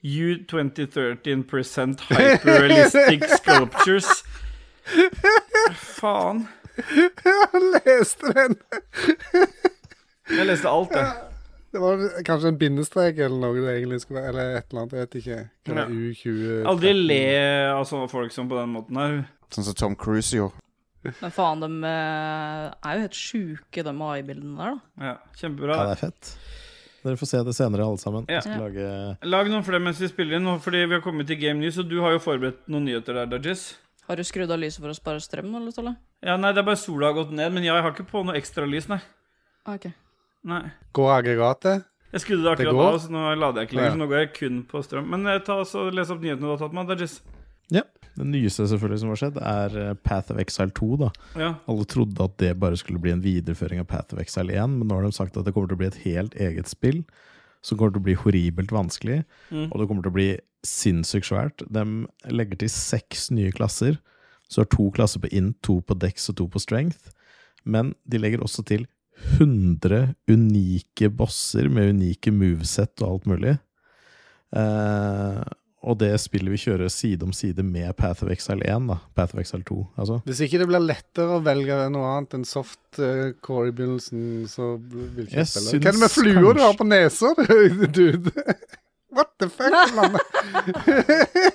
S2: You 2013% hyperrealistic sculptures. Faen.
S3: Han leste den!
S2: Jeg leste alt, jeg.
S3: Det var kanskje en bindestrek eller noe det egentlig skulle være. Eller et eller annet, jeg vet ikke. Kan det U20
S2: Aldri le av sånne folk som på den måten her.
S7: Sånn som Tom Cruise gjorde.
S4: Men faen, de eh, er jo helt sjuke, de AI-bildene der, da.
S1: Ja,
S2: Ja,
S1: det
S2: kjempebra.
S1: er fett. Dere får se det senere, alle sammen.
S2: Ja.
S1: Jeg skal lage
S2: Lag noen flere mens vi spiller inn, nå, fordi vi har kommet til Game News, og du har jo forberedt noen nyheter der, Dodges.
S4: Har du skrudd av lyset for å spare strøm, eller, Ståle?
S2: Ja, nei, det er bare sola har gått ned, men jeg har ikke på noe ekstra lys, nei.
S4: Ok.
S2: nei.
S3: Går aggregatet?
S2: Jeg skrudde det
S3: Det
S2: akkurat
S3: går?
S2: av, så nå lader jeg ikke
S3: Ja.
S2: lenger, så nå går jeg kun på strøm. Men eh, ta også, les opp nyhetene du har tatt med, Dodges.
S1: Det nyeste selvfølgelig som har skjedd, er eh, Path of Exile 2. da
S2: Ja.
S1: Alle trodde at det bare skulle bli en videreføring av Path of Exile 1, men nå har de sagt at det kommer til å bli et helt eget spill som kommer til å bli horribelt vanskelig,
S2: Mm.
S1: og det kommer til å bli sinnssykt svært. De legger til seks nye klasser. Så har to klasser på int, to på dex og to på strength. Men de legger også til 100 unike bosser med unike movesett og alt mulig. Eh, og det spillet vi kjører side om side med Path of Exile 1, da. Path of Exile 2, altså.
S3: Hvis ikke det blir lettere å velge noe annet enn soft eh, core i begynnelsen, så vil ikke
S1: Jeg
S3: jeg spille.
S1: syns
S3: Hva er det med flua du har på nesa, du, dude? What the fuck? Mann?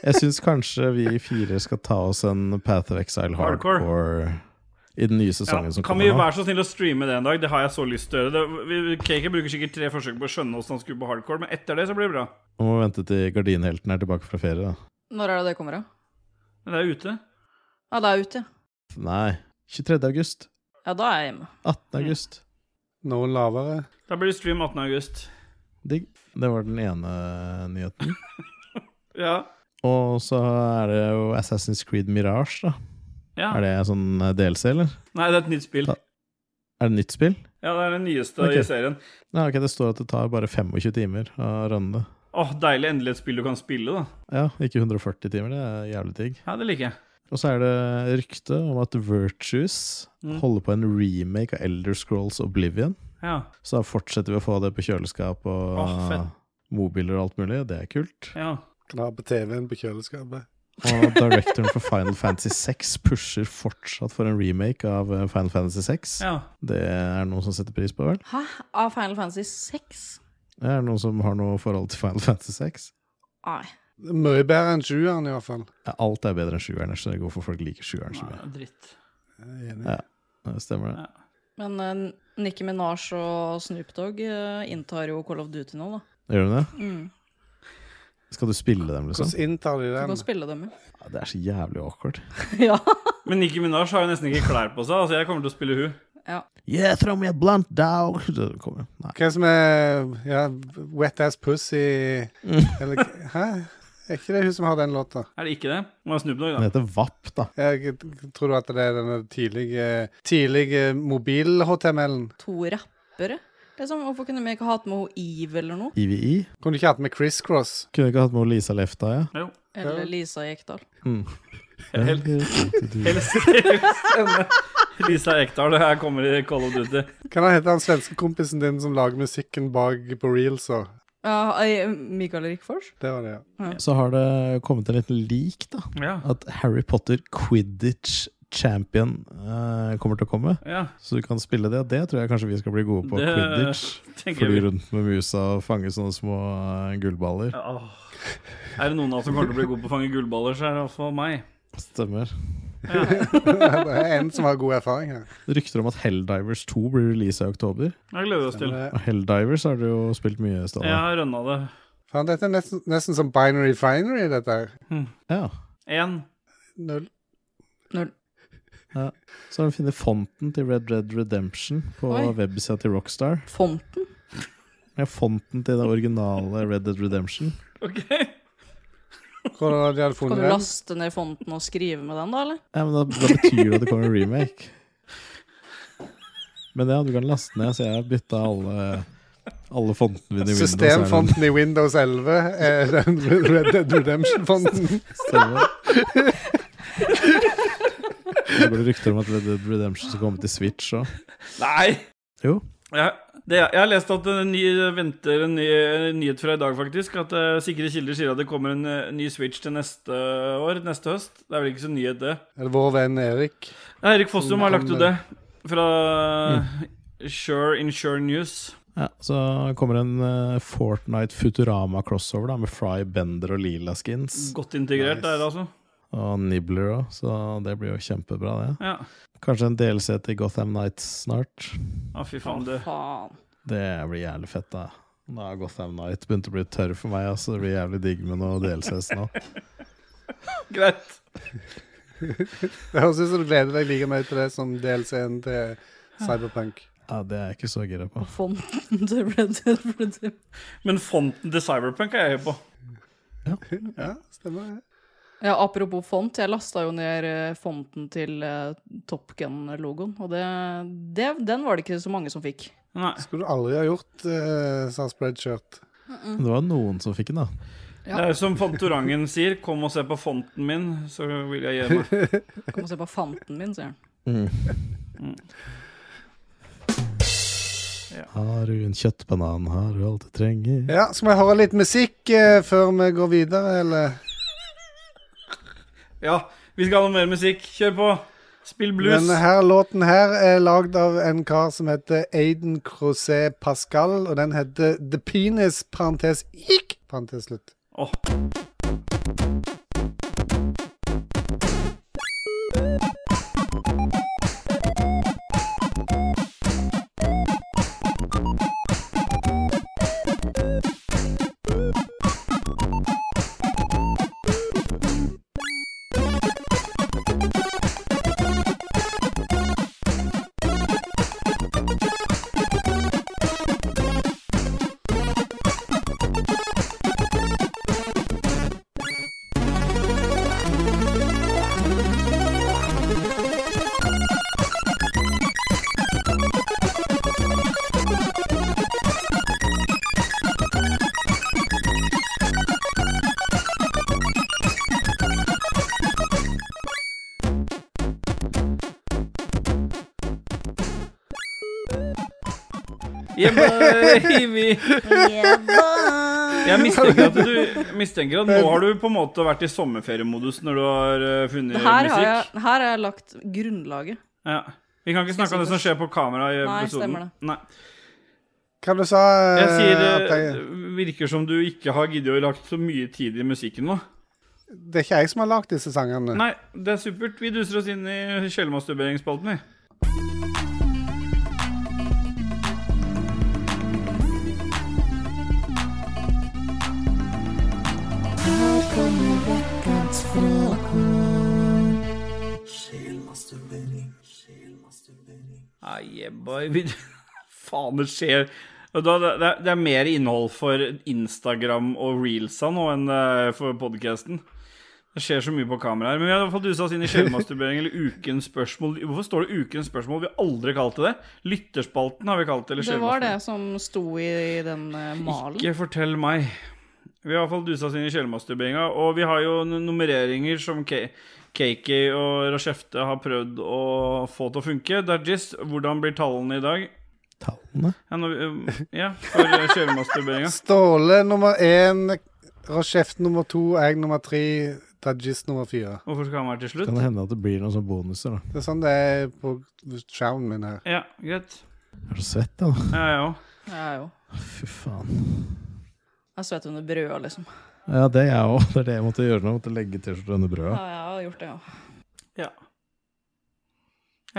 S1: Jeg syns kanskje vi fire skal ta oss en Path of Exile
S2: Hardcore.
S1: hardcore, i den nye
S2: Ja,
S1: sesongen som
S2: kan
S1: kommer
S2: vi
S1: nå.
S2: være så snill å streame det en dag? Det har jeg så lyst til å gjøre. Det- vi- Cake bruker sikkert tre forsøk på å skjønne hvordan han skulle på hardcore, men etter det så blir det bra.
S1: Vi må vente til gardinhelten er tilbake fra ferie, da.
S4: Når er det det kommer, da?
S2: Men det er ute.
S4: Ja, det er ute, ja.
S1: Nei. 23. august.
S4: Ja, da er jeg hjemme.
S1: 18.
S2: Mm.
S1: august.
S3: Noe lavere.
S2: Da blir det stream 18. august.
S1: Digg. Det var den ene nyheten.
S2: Ja.
S1: Og så er det jo Assassin's Creed Mirage, da.
S2: ja.
S1: Er det sånn DLC, eller?
S2: Nei, det er et nytt spill.
S1: Ta- Er det nytt spill?
S2: Ja, det er det nyeste
S1: Ok.
S2: i serien.
S1: Nei, ok, det står at det tar bare 25 timer å runde.
S2: Åh, Deilig endelig et spill du kan spille, da.
S1: Ja, ikke 140 timer, det er jævlig digg.
S2: Ja, det liker jeg.
S1: Og så er det rykte om at Virtues
S2: Mm.
S1: holder på en remake av Elder Scrolls Oblivion.
S2: Ja.
S1: Så da fortsetter vi å få det på kjøleskap og
S2: Åh, fett.
S1: mobiler og alt mulig. Det er kult.
S2: ja.
S3: Kan ha på TV-en på kjøleskapet.
S1: Og directoren for Final Fantasy 6 pusher fortsatt for en remake av eh, Final Fantasy 6.
S2: ja.
S1: Det er noen som setter pris på, vel?
S4: Hæ? Av Final Fantasy 6?
S1: Det er noen som har noe forhold til Final Fantasy 6.
S4: Nei.
S3: Mye bedre enn sjueren, iallfall.
S1: Ja, alt er bedre enn sjueren. Jeg skjønner ikke hvorfor folk liker sjueren så
S2: Nei,
S1: mye.
S2: dritt.
S1: Ja. Ja, Stemmer det.
S4: Men uh, Nikki Minaj og Snoop Dogg eh, inntar jo Call of Duty nå, da.
S1: Gjør du det?
S4: Mm.
S1: Skal du spille dem, liksom?
S3: Hvordan inntar de
S4: Du kan
S3: den?
S4: spille dem, jo.
S1: Ja, det er så jævlig awkward.
S4: ja.
S2: Men Nicki Minaj har jo nesten ikke klær på seg, altså jeg kommer til å spille hun.
S1: Yeah, throw me a blunt dog! Så kommer jeg. Nei.
S3: Hva som er ja, Wet Ass Pussy Eller Hæ? Er ikke det hun som har den låta?
S2: Er det ikke det? Må ha Snoop Dogg,
S1: Den
S2: da.
S1: heter VAP, da.
S3: Jeg tror du at det er denne tidlige, tidlige mobil-HTML-en?
S4: To rappere. Liksom, hvorfor kunne vi ikke hatt med henne Eve eller noe?
S1: IVI.
S3: Kunne du ikke hatt med Criss Cross?
S1: Kunne ikke hatt med Lisa Lefta, ja.
S2: Jo.
S4: Eller Lisa Ekdal.
S1: Mm.
S2: Helt- Eller sende Lisa Ekdal, det her kommer i Call of Duty.
S3: Kan han hete han svenske kompisen din som lager musikken bak på reels og
S4: Ja, eh, Michael Rikfors?
S3: Det var det, ja.
S1: Så har det kommet en liten lik, da.
S2: Ja.
S1: At Harry Potter Quidditch Champion eh, kommer til å komme.
S2: ja.
S1: Så du kan spille det. Det tror jeg kanskje vi skal bli gode på.
S2: Det
S1: Quidditch.
S2: tenker
S1: Fly
S2: jeg.
S1: rundt med musa og fange sånne små eh, gullballer.
S2: Ja, åh. Er det noen av oss som kommer til å bli god på å fange gullballer, så er det iallfall meg.
S1: Stemmer.
S3: Det er en som har god erfaring her.
S1: Rykter om at Helldivers 2 blir releasa i oktober.
S2: Jeg gleder vi oss til.
S3: eh,
S1: Og Helldivers har du jo spilt mye,
S2: Jeg
S1: Ståle.
S2: har rønna det.
S3: Faen, dette er nesten, nesten som binary finery, dette her.
S1: Ja.
S2: Én.
S3: Null.
S1: Så har du funnet fonten til Red Red Redemption på
S4: Oi.
S1: websida til Rockstar.
S4: Fonten?
S1: Ja, fonten til det originale Red Dead Redemption.
S2: OK.
S3: Hvordan var det de hadde
S4: Kan
S3: funnet
S4: du
S3: den?
S4: laste ned fonten og skrive med den, da, eller?
S1: Ja, men da, da betyr det at det kommer en remake. Men ja, du kan laste ned, så jeg har bytta alle, alle fontene mine i Windows.
S3: Systemfonten i Windows 11 er den Red Dead Redemption-fonten.
S1: Stemmer. Så går det rykter om at Red Dead Redemption skal komme til Switch òg.
S2: Nei!
S1: Jo.
S2: Jeg, det, jeg har lest at det ny, venter en ny en nyhet fra i dag, faktisk. At eh, sikre kilder sier at det kommer en eh, ny Switch til neste år, neste høst. Det er vel ikke så nyhet, det.
S3: Er det vår venn Erik?
S2: Ja, Erik Fossum har lagt ut det fra eh,
S1: Mm.
S2: Sure Insure News.
S1: Ja, så kommer en eh, Fortnite Futurama crossover da med Fry Bender og Lila Skins.
S2: Godt integrert
S3: Nice.
S2: der, altså.
S1: Og Nibbler òg, så det blir jo kjempebra, det.
S2: Ja.
S1: Kanskje en delelse til Gotham Nights snart.
S2: Å, fy faen, det
S4: Faen.
S1: Det blir jævlig fett, da. Nå har Gotham Night begynt å bli tørr for meg. Altså. Det blir jævlig digg med noe DLCs nå.
S2: Greit.
S3: Det høres ut som du gleder deg like mye til det som DLC-en til Cyberpunk.
S1: Ja, det er jeg ikke så gira på.
S4: Fonten til Red Dead Redemption.
S2: Men fonten til Cyberpunk er jeg på.
S3: Ja, stemmer det.
S4: Ja, apropos font, jeg lasta jo ned eh, fonten til eh, Top Gun-logoen, og det, det, den var det ikke så mange som fikk.
S2: Nei.
S3: Skulle du aldri ha gjort, eh, sa Spreadshirt.
S1: Men det var noen som fikk den, da.
S4: Ja.
S2: Det er jo som Fantorangen sier, kom og se på fonten min, så vil jeg gi meg.
S4: Kom og se på fanten min, sier han.
S2: Eh,
S1: Har du en kjøttbanan, har du alt du trenger.
S3: Ja, skal vi høre litt musikk eh, før vi går videre, eller?
S2: Ja, vi skal ha noe mer musikk. Kjør på. Spill blues.
S3: Denne her låten her er lagd av en kar som heter Aiden Crozet Pascal, og den heter The Penis, parentes ikk, parentes slutt.
S2: Åh. Yeah, boy, vi- Jeg mistenker at, du, mistenker at nå har du på en måte vært i sommerferiemodus når du har eh, funnet
S4: Her har, jeg,
S2: musikk.
S4: her har jeg lagt grunnlaget.
S2: Ja. Vi kan ikke snakke om det som skjer på kamera i
S4: Nei,
S2: episoden.
S4: stemmer det.
S2: Nei.
S3: Hva du sa eh,
S2: Jeg sier eh,
S3: at
S2: det
S3: jeg,
S2: virker som du ikke har giddet å lagt så mye tid i musikken nå.
S3: Det er ikke jeg som har lagd disse sangene.
S2: Nei, det er supert. Vi duser oss inn i sjelmasturberingsspalten, vi. Ah, yeah, boy. Vi- Faen, det skjer. Og Da, det, er- det er mer innhold for Instagram og reelsa nå enn det er for podkasten. Det skjer så mye på kamera her. Men vi har i hvert fall dusa oss inn i sjelmasturbering eller ukens spørsmål. Hvorfor står det ukens spørsmål? Vi har aldri kalt det det. Lytterspalten har vi kalt det. Eller
S4: Det var det
S2: sjelmasturbering.
S4: som sto i den eh, malen.
S2: Ikke fortell meg. Vi har i hvert fall dusa oss inn i sjelmasturberinga, og vi har jo noen nummereringer som K Kiki og Rashefte har prøvd å få til å funke. Dajis, hvordan blir tallene i dag?
S1: Tallene?
S2: Ja, nå, eh, ja for eh, sjelmasturberinga.
S3: Ståle nummer én, Rochef nummer to, jeg nummer tre, Dajis nummer fire.
S2: Hvorfor skal han være til
S1: Kan
S2: slutt?
S1: det hende at det blir noen sånne bonuser, da?
S3: Det er sånn det er på skjermen min her.
S2: Ja, greit.
S1: Jeg er så svett, da.
S2: Ja, jeg òg.
S4: Jeg er jo
S1: Fy faen.
S4: Jeg svett under brøda, liksom.
S1: Ja, det er jeg òg. Det er det jeg måtte gjøre nå. Jeg Måtte legge T-skjorta under
S4: Ja,
S1: brødet.
S4: jeg har gjort det, ja.
S2: Ja.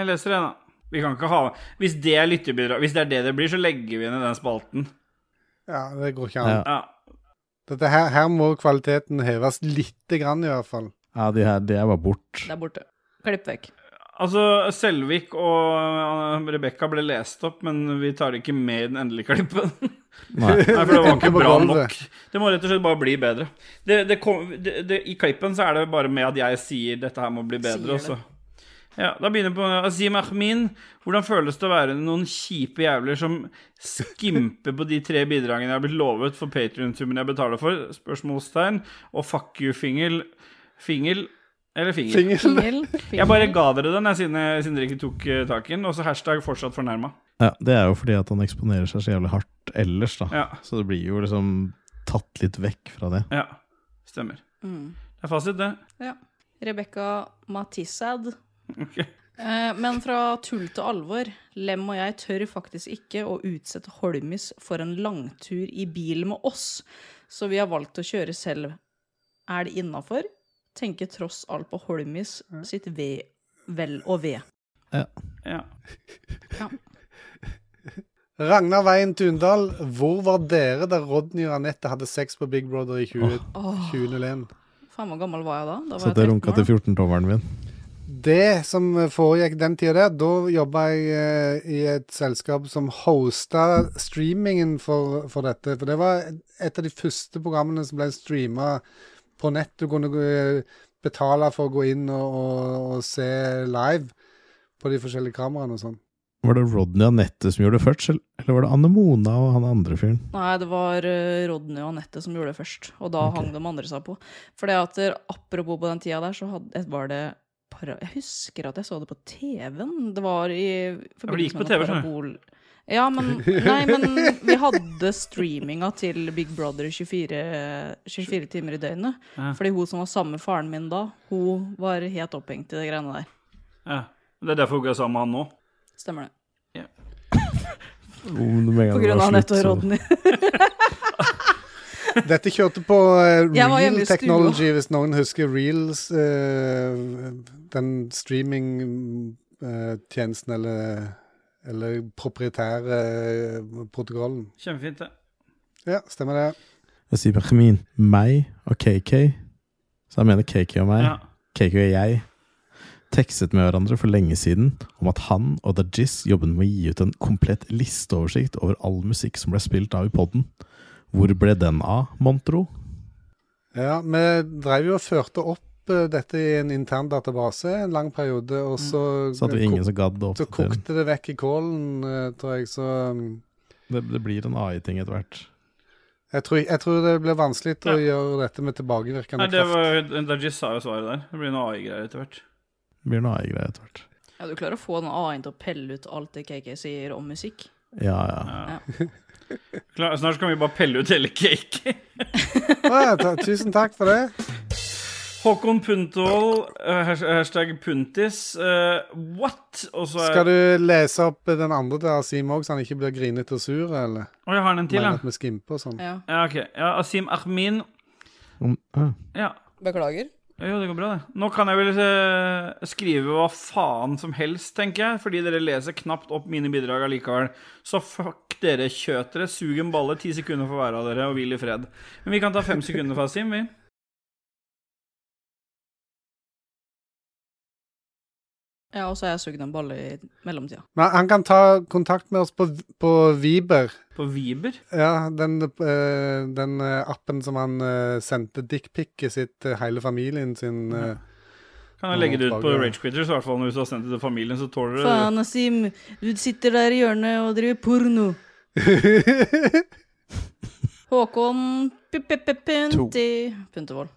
S2: Jeg leser en, da. Vi kan ikke ha Hvis det er lytterbidrag, hvis det er det det blir, så legger vi ned den spalten.
S3: Ja, det går ikke an.
S1: Ja.
S2: Ja.
S3: Dette her, her må kvaliteten heves lite grann, i hvert fall.
S1: Ja, de her, det er bare bort.
S4: Det er borte. Klipp vekk.
S2: Altså, Selvik og eh, Rebekka ble lest opp, men vi tar det ikke med i den endelige klippen.
S1: Nei.
S2: Nei, for det var ikke
S3: På
S2: bra
S3: gulvet.
S2: nok. Det må rett og slett bare bli bedre. Det, det kom, det, det, I klippen så er det bare med at jeg sier 'dette her må bli bedre', og
S4: Sier
S2: så ja, Da begynner vi på Azim Ahmin. Hvordan føles det å være noen kjipe jævler som skimper på de tre bidragene jeg har blitt lovet for Patrion-summen jeg betaler for? Spørsmålstegn. Og fuck you-fingel. Fingel eller fingel?
S3: Fingel.
S4: Fingel.
S2: Jeg bare ga dere den, jeg, siden, siden dere ikke tok eh, tak i den. Og så hashtag fortsatt fornærma.
S1: Ja, det er jo fordi at han eksponerer seg så jævlig hardt ellers, da.
S2: Ja.
S1: Så det blir jo liksom tatt litt vekk fra det.
S2: Ja, stemmer.
S4: Mm.
S2: Det er fasit, det.
S4: Ja. Rebekka Matissad.
S2: Ok.
S4: Eh, men fra tull til alvor. Lem og jeg tør faktisk ikke å utsette Holmis for en langtur i bil med oss, så vi har valgt å kjøre selv. Er det innafor? Tenker tross alt på Holmis sitt ve, vel og ve.
S2: Ja.
S3: Ragnar Veien Tundal, hvor var dere da Rodney og Anette hadde sex på Big Brother i 20,
S4: Åh,
S3: 2001?
S4: faen, hvor gammel var jeg da? da var
S1: Satt og runka til
S4: år.
S1: 14-tommeren min.
S3: Det som foregikk den tida der, da jobba jeg eh, i et selskap som hosta streamingen for, for dette. For det var et av de første programmene som ble streama på nett. Du kunne gå- eh, betale for å gå inn og, og, og se live på de forskjellige kameraene og sånn.
S1: Var det Rodney Anette som gjorde det først, eller- eller var det Anne Mona og han andre fyren?
S4: Nei, det var eh, Rodney og Anette som gjorde det først. Og da
S1: Ok.
S4: hang de andre seg på. For det at der, apropos på den tida der, så hadde, var det para, Jeg husker at jeg så det på TV-en. Det var i
S2: gikk på TV, skjønner du.
S4: parabol... Ja, men Nei, men vi hadde streaminga til Big Brother i 24, 24 timer i døgnet.
S2: Ja.
S4: Fordi hun som var sammen med faren min da, hun var helt opphengt i de greiene der.
S2: ja. Det er derfor jeg er sammen med han nå.
S4: Stemmer det. På
S1: På
S4: grunn av Anette og Rodney.
S3: Dette kjørte på eh,
S4: Jeg var
S3: Real
S4: hjemme i stua.
S3: Technology, hvis noen husker Reels. eh, den streamingtjenesten eller, eller proprietære eh, protokollen.
S2: Kjempefint, det.
S3: Ja, stemmer det.
S1: Jeg sier Benjamin. Meg og KK. Så jeg mener KK og meg.
S2: Ja.
S1: KK og jeg tekstet med hverandre for lenge siden om at han og Dajis jobbet med å gi ut en komplett listeoversikt over all musikk som ble spilt av i podden. Hvor ble den av, mon tro?
S3: Ja, Vi drev jo og førte opp eh, dette i en intern database en lang periode, og
S4: Mm.
S3: så, eh,
S1: Så hadde vi ingen som gadd å
S3: så
S1: oppdatere den.
S3: kokte det vekk i kålen, eh, tror jeg. Så mm,
S1: Det, det blir en AI-ting etter hvert.
S3: jeg tror, jeg tror det blir vanskelig
S2: Ja.
S3: å gjøre dette med
S2: Nei,
S3: tilbakevirkende
S2: det
S3: kraft.
S2: var, Dajis sa jo svaret der. Det blir noe AI-greier etter hvert.
S1: Det blir en AI-greie etter hvert.
S4: Ja, du klarer å få den A-en til å pelle ut alt det KK sier om musikk.
S1: Ja, ja.
S2: Klar, snart kan vi bare pelle ut hele cake.
S3: Å, ja, ta, tusen takk for det.
S2: Håkon Puntoll, eh, has- hashtag puntis. eh, what? Og så er-
S3: Skal du lese opp den andre til Asim òg, så han ikke blir grinete og sur? Eller
S2: Å, jeg har den en til, ja.
S3: mener at vi skimper og sånn?
S4: Ja.
S2: ja, ok. ja Asim Ahmin.
S1: Om, ah.
S2: Ja.
S4: Beklager.
S2: Jo, det går bra, det. Nå kan jeg vel eh, skrive hva faen som helst, tenker jeg, fordi dere leser knapt opp mine bidrag allikevel. Så fuck dere kjøtere, sug en balle, ti sekunder for hver av dere, og hvil i fred. Men vi kan ta fem sekunder fra Sim, vi.
S4: Ja, og så har jeg sugd en balle i mellomtida.
S3: Men han kan ta kontakt med oss på, på Viber.
S2: På Viber.
S3: Ja, den, eh, den eh, appen som han eh, sendte dickpicet sitt til hele familien sin eh,
S2: Kan jeg legge det ut på
S3: Oppdager.
S2: Rage Quitters, i hvert fall hvis du har sendt det til familien, så tåler du det.
S4: Faen, Asim. Du sitter der i hjørnet og driver porno. Håkon p- p- p- Punti Puntervold.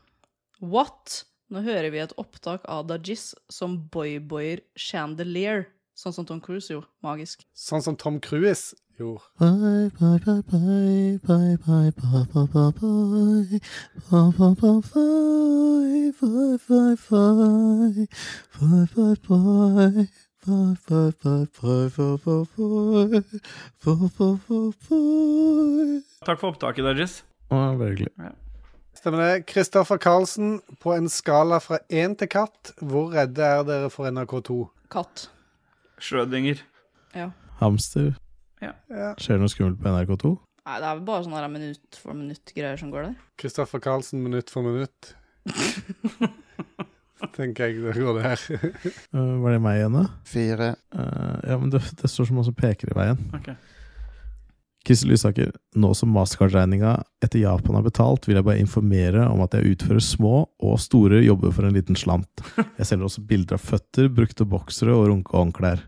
S4: What? Nå hører vi et opptak av Dajis som boyboyer Chandelier. Sånn som Tom Cruise, jo. Magisk.
S3: Sånn som Tom Cruise gjorde.
S6: Bye, bye, bye, bye, bye, bye, bye, bye, bye, bye. Bye, bye, bye, bye, bye, bye, bye. Bye, bye, bye. Bye, bye, bye, bye, bye, bye, bye. Bye, bye, bye, bye.
S2: Takk for opptaket der, Jess.
S1: Ah, veldig hyggelig.
S3: Stemmer det. Kristoffer Karlsen, på en skala fra én til katt, hvor redde er dere for NRK2?
S4: Katt.
S2: Schrødinger.
S4: Ja.
S1: Hamster.
S2: Ja.
S1: Skjer det noe skummelt på NRK2?
S4: Nei, det er vel bare sånne der minutt for minutt-greier som går der.
S3: Kristoffer Karlsen minutt for minutt. Tenker jeg det går der.
S1: Eh, var det meg igjen, da?
S7: Fire.
S1: Eh, ja, men det, det står så mange som peker i veien.
S2: Ok.
S1: Kristel Lysaker, nå som Mastercard-regninga etter Japan er betalt, vil jeg bare informere om at jeg utfører små og store jobber for en liten slant. Jeg selger også bilder av føtter, brukte boksere og runkehåndklær.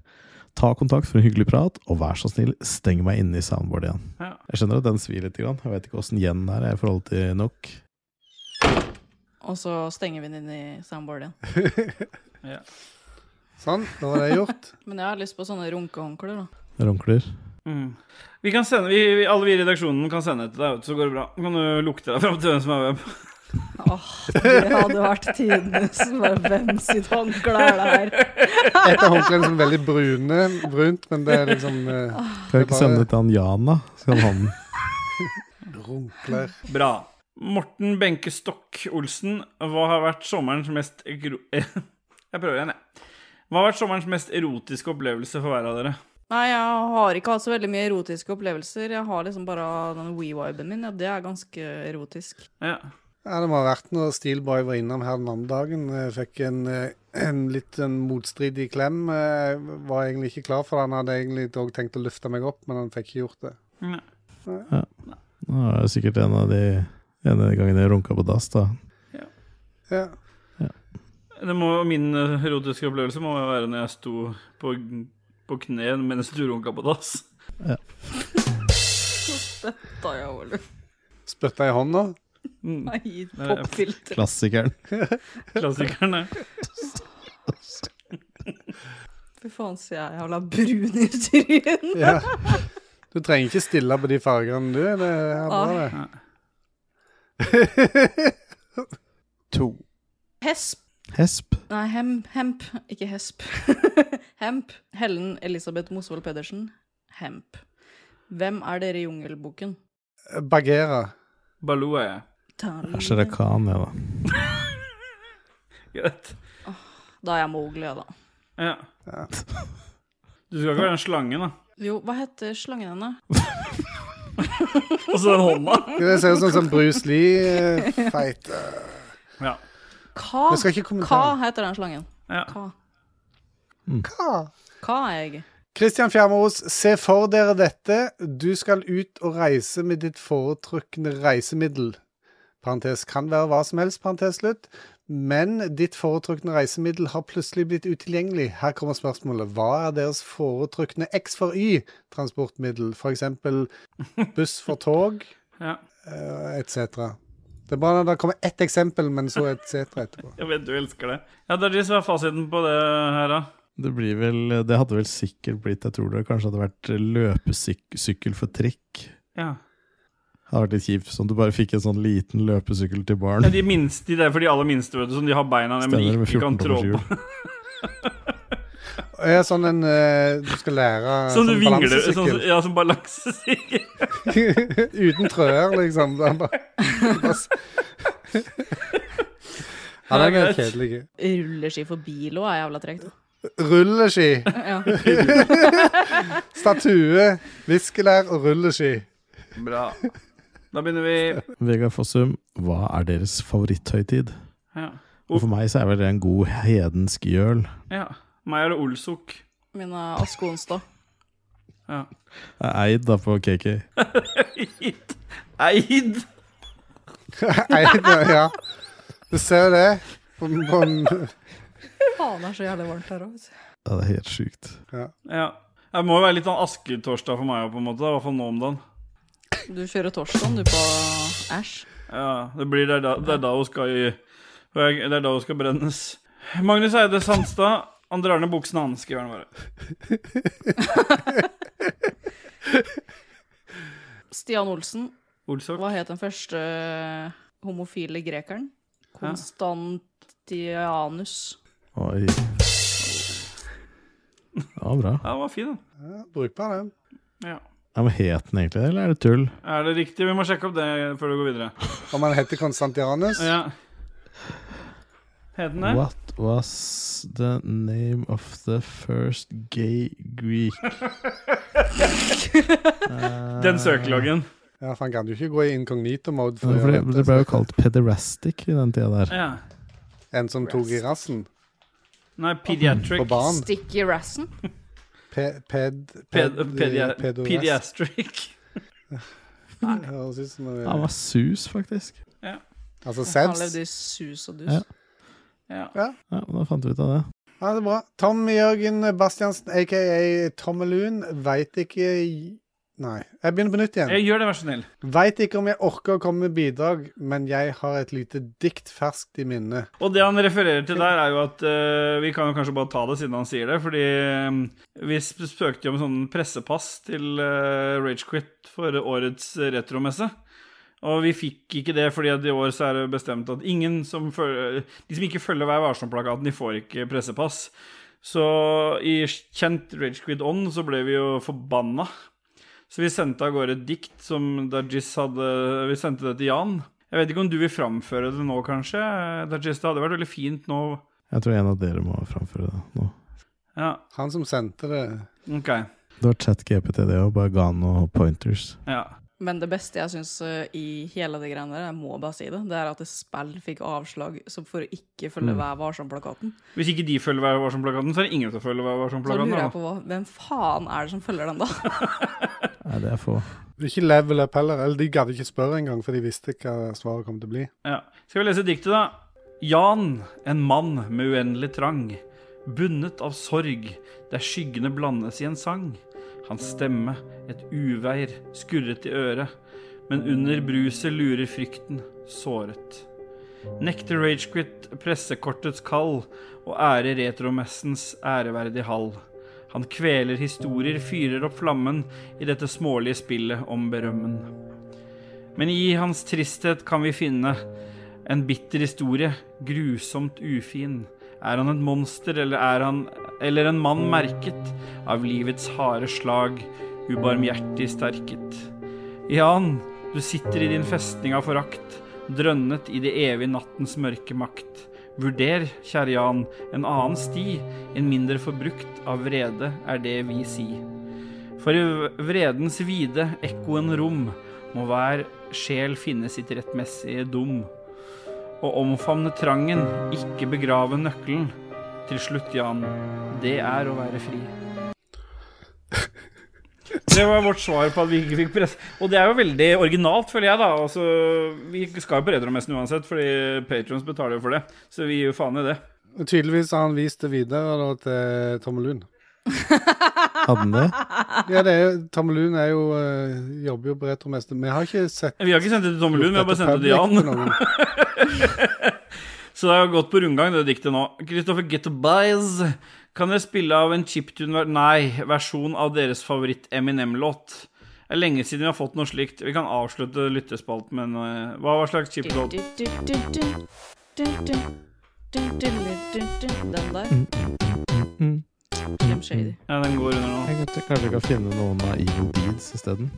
S1: Ta kontakt for en hyggelig prat, og vær så snill, steng meg inne i soundboardet igjen.
S2: Ja.
S1: Jeg skjønner at den svir litt. Grann. Jeg vet ikke åssen igjen den er i forhold til nok.
S4: Og så stenger vi den inn i soundboardet igjen.
S3: Sånn, nå var det gjort.
S4: Men jeg har lyst på sånne runkehåndklær, da.
S1: Runkler.
S2: Mm. Vi kan sende, vi, vi, alle vi i redaksjonen kan sende det til deg, vet du, så går det bra. Så kan du lukte deg fram til hvem som er hvem.
S4: Åh, det hadde vært tidenes Bare hvem sitt håndkle er det her?
S3: Et av håndklærne som er veldig brune, brunt, men det er liksom eh,
S1: Kan jeg
S3: Det er
S1: ikke sende
S3: bare-
S1: det til han Jan, da? Så kan han
S3: runkler.
S2: Bra. Morten Benke Stokk Olsen, hva har vært sommerens mest gro... Jeg prøver igjen, jeg. Hva har vært sommerens mest erotiske opplevelse for hver av dere?
S4: Nei, jeg har ikke hatt så veldig mye erotiske opplevelser. Jeg har liksom bare den we-viben min, og det er ganske erotisk.
S2: Ja.
S3: Ja, det må ha vært når Steelboy var innom her den andre dagen. Jeg fikk en, eh, en litt en motstridig klem. Jeg var egentlig ikke klar for det. Han hadde egentlig dog tenkt å løfte meg opp, men han fikk ikke gjort det.
S2: Nei.
S1: Nå er det sikkert en av de ene gangen jeg runka på dass, da.
S3: Ja.
S2: Det må, min eh, erotiske opplevelse må være når jeg sto på, på kne mens du runka på dass.
S4: Da er jeg over.
S3: Spytta i hånda.
S2: Mm.
S4: Nei,
S2: Nei,
S3: eh,
S2: jeg-
S4: popfilter.
S1: Klassikeren.
S2: Klassikerne.
S4: Fy faen, sier jeg. Jævla brun i trynet.
S3: Ja. Du trenger ikke stille på de fargene, du. Det er bra, det.
S7: To.
S4: Hesp.
S1: Hesp.
S4: Nei, hem, hemp. Ikke hesp. hemp. Helen Elisabeth Mosvold Pedersen. Hemp. Hvem er dere i Jungelboken?
S3: Bagheera.
S2: Baloo er jeg.
S1: Shere Khan, ja, da.
S2: Greit.
S4: Da er jeg Mowgli, jeg, da.
S2: Ja. Du skal ikke være den slangen, da.
S4: Jo, hva heter slangen henne?
S2: Og så den hånda.
S3: Det ser ut som en sånn Bruce Lee-feit.
S2: Ja.
S4: Ka.
S3: Jeg skal ikke
S4: Ka
S3: kommentere.
S4: heter den slangen.
S2: Ja.
S4: Ka.
S3: Hva?
S4: Ka er jeg.
S3: Kristian Fjermeros, se for dere dette. Du skal ut og reise med ditt foretrukne reisemiddel. Parentes kan være hva som helst, parentes slutt. Men ditt foretrukne reisemiddel har plutselig blitt utilgjengelig. Her kommer spørsmålet. Hva er deres foretrukne X for Y-transportmiddel? F.eks. buss for tog,
S2: ja.
S3: etc. Det er bare når det kommer ett eksempel, men så et cetera etterpå.
S2: Jeg vet du elsker det. Ja, Dajis, hva er fasiten på det her, da?
S1: Det blir vel Det hadde vel sikkert blitt Jeg tror det kanskje hadde vært løpesykkel for trikk.
S2: Ja.
S1: Det hadde vært litt kjipt sånn at du bare fikk en sånn liten løpesykkel til barn.
S2: Ja, de minste, de der for de aller minste, vet du, som de har beina ned,
S1: Stemmer,
S2: men
S1: med
S2: ikke kan
S1: 14
S2: trå på.
S1: dobbelthjul.
S3: Er sånn en eh, Du skal lære
S2: Sånn du
S3: sånn
S2: vingler sånn,
S3: balansesykkel.
S2: Ja, som balansesykkel.
S3: Uten trøyer, liksom. Han bare, bare s- Ja, den er kjedelig.
S4: Rulleski for bil òg er jævla tregt.
S3: Rulleski.
S4: Ja.
S3: Statue, viskelær og rulleski.
S2: Bra. Da begynner vi
S1: Vegard Fossum, hva er deres favoritthøytid?
S2: Ja.
S1: Og for meg så er vel det en god hedensk jøl.
S2: ja. Meg er det olsok.
S4: Min eh, er askeonsdag.
S2: Ja.
S1: Eid da på KK.
S2: Eid. Eid.
S3: Nei, det- ja. Du ser jo det. På, på en,
S4: Faen, det er så jævlig varmt her òg.
S1: Ja, det er helt sjukt.
S2: Ja. Det må jo være litt sånn asketorsdag for meg òg, på en måte. da, I hvert fall nå om dagen.
S4: Du kjører torsdagen, du, på Æsj.
S2: Ja, det, blir, det, er da, det er da hun skal i Det er da hun skal brennes. Magnus Eide Sandstad. Han drar ned buksene hans, skriver han bare.
S4: Stian Olsen.
S2: Olsok.
S4: Hva het den første eh, homofile grekeren? Konstantianus.
S1: Oi. Ja, bra.
S2: Ja, den var fin, den.
S3: ja, brukbar, den.
S2: Ja.
S1: Ja, men Het den egentlig det, eller er det tull?
S2: Er det riktig? Vi må sjekke opp det før du går videre.
S3: Om han heter Konstantianus.
S2: Ja. Het den det?
S1: What was the name of the first gay Greek?
S2: Den søkeloggen.
S3: Ja, for han kan jo ikke gå i inkognito-mode.
S1: Ja,
S3: å
S1: Eh, for det,
S3: gjøre
S1: det ble jo
S3: dette.
S1: kalt pederastic i den tida der.
S2: Ja.
S3: En som tok i rassen.
S2: Nei,
S3: På
S2: pediatric.
S3: barn.
S4: Sticky Rassen.
S3: Pe, ped...
S2: Ped,
S3: ped-
S2: pedia,
S3: pedorest.
S2: pediatric.
S3: Det Høres ut som en-
S1: Han var sus, faktisk.
S3: Altså
S4: Han
S3: sevs.
S4: levde i sus og dus.
S1: Ja.
S2: Ja.
S1: Ja, men Da fant vi ut av det.
S3: Ja, det er bra. Tom Jørgen Bastiansen, aka Tommelun, veit ikke Nei. Jeg begynner på nytt igjen.
S2: Jeg gjør det, vær så snill.
S3: Veit ikke om jeg orker å komme med bidrag, men jeg har et lite dikt ferskt i minne.
S2: Og det han refererer til der, er jo at eh, vi kan jo kanskje bare ta det siden han sier det, fordi eh, vi sp- spøkte jo om sånn pressepass til eh, Rage Ragequit for årets eh, retromesse. Og vi fikk ikke det, fordi at i år så er det bestemt at ingen som følger, de som ikke følger Vær varsom-plakaten, de får ikke pressepass. Så i kjent Ragequid On så ble vi jo forbanna. Så vi sendte av gårde et dikt som Dajis hadde Vi sendte det til Jan. Jeg vet ikke om du vil framføre det nå, kanskje? Dajis, det hadde vært veldig fint nå.
S1: Jeg tror en av dere må framføre det nå.
S2: Ja,
S3: Han som sendte det
S2: OK.
S1: Det var ChatGPT, det òg. Bare ga noen pointers.
S2: Ja.
S4: Men det beste jeg syns i hele det greiene der, jeg må bare si det, det er at spill fikk avslag som for å ikke følge Vær varsom-plakaten.
S2: Hvis ikke de følger Vær varsom-plakaten, så er det ingen som følger Vær
S4: Så
S2: varsom-plakaten.
S4: lurer jeg
S2: da.
S4: på hva, hvem faen er det som følger den, da?
S1: Nei, det er få.
S3: Det er Ikke level up heller. Eller de gadd ikke spørre engang, for de visste hva svaret kom til å bli.
S2: Ja. Skal vi lese diktet, da? Jan, en mann med uendelig trang. Bundet av sorg, der skyggene blandes i en sang. Hans stemme, et uvær, skurret i øret. Men under bruset lurer frykten, såret. Nekter Ragequit pressekortets kall og ærer retromessens æreverdige hall. Han kveler historier, fyrer opp flammen i dette smålige spillet om berømmen. Men i hans tristhet kan vi finne en bitter historie, grusomt ufin. Er han et monster, eller er han Eller en mann merket av livets harde slag, ubarmhjertig sterket? Jan, du sitter i din festning av forakt, drønnet i det evige nattens mørke makt. Vurder, kjære Jan, en annen sti, en mindre forbrukt av vrede, er det vi si. For i vredens vide ekkoen rom må hver sjel finne sitt rettmessige dom. Å omfavne trangen, ikke begrave nøkkelen. Til slutt, Jan, det er å være fri. Det var vårt svar på at vi ikke fikk press. Og det er jo veldig originalt, føler jeg, da. Altså, vi skal jo på Retromessen uansett, fordi Patrons betaler jo for det. Så vi gir jo faen i det.
S3: Og Tydeligvis har han vist det videre da, til Tommelun.
S1: Hadde den det?
S3: Ja, det er, jo- Tommelun er jo, eh, jobber jo på Retromester. Vi har ikke sett
S2: Vi har ikke sendt det til Tommelun, vi har bare sendt det til Jan. Så det har gått på rundgang, det diktet nå. Kristoffer Gettobies Kan dere spille av en chiptune Nei, versjon av deres favoritt-Eminem-låt? Det er lenge siden vi har fått noe slikt. Vi kan avslutte lyttespalten med noe Hva var slags chiptune?
S4: Den der.
S6: Mm.
S4: Slim Shady.
S2: Ja, den går under nå.
S1: Jeg kan- kanskje vi kan finne noen av Evil Deeds isteden.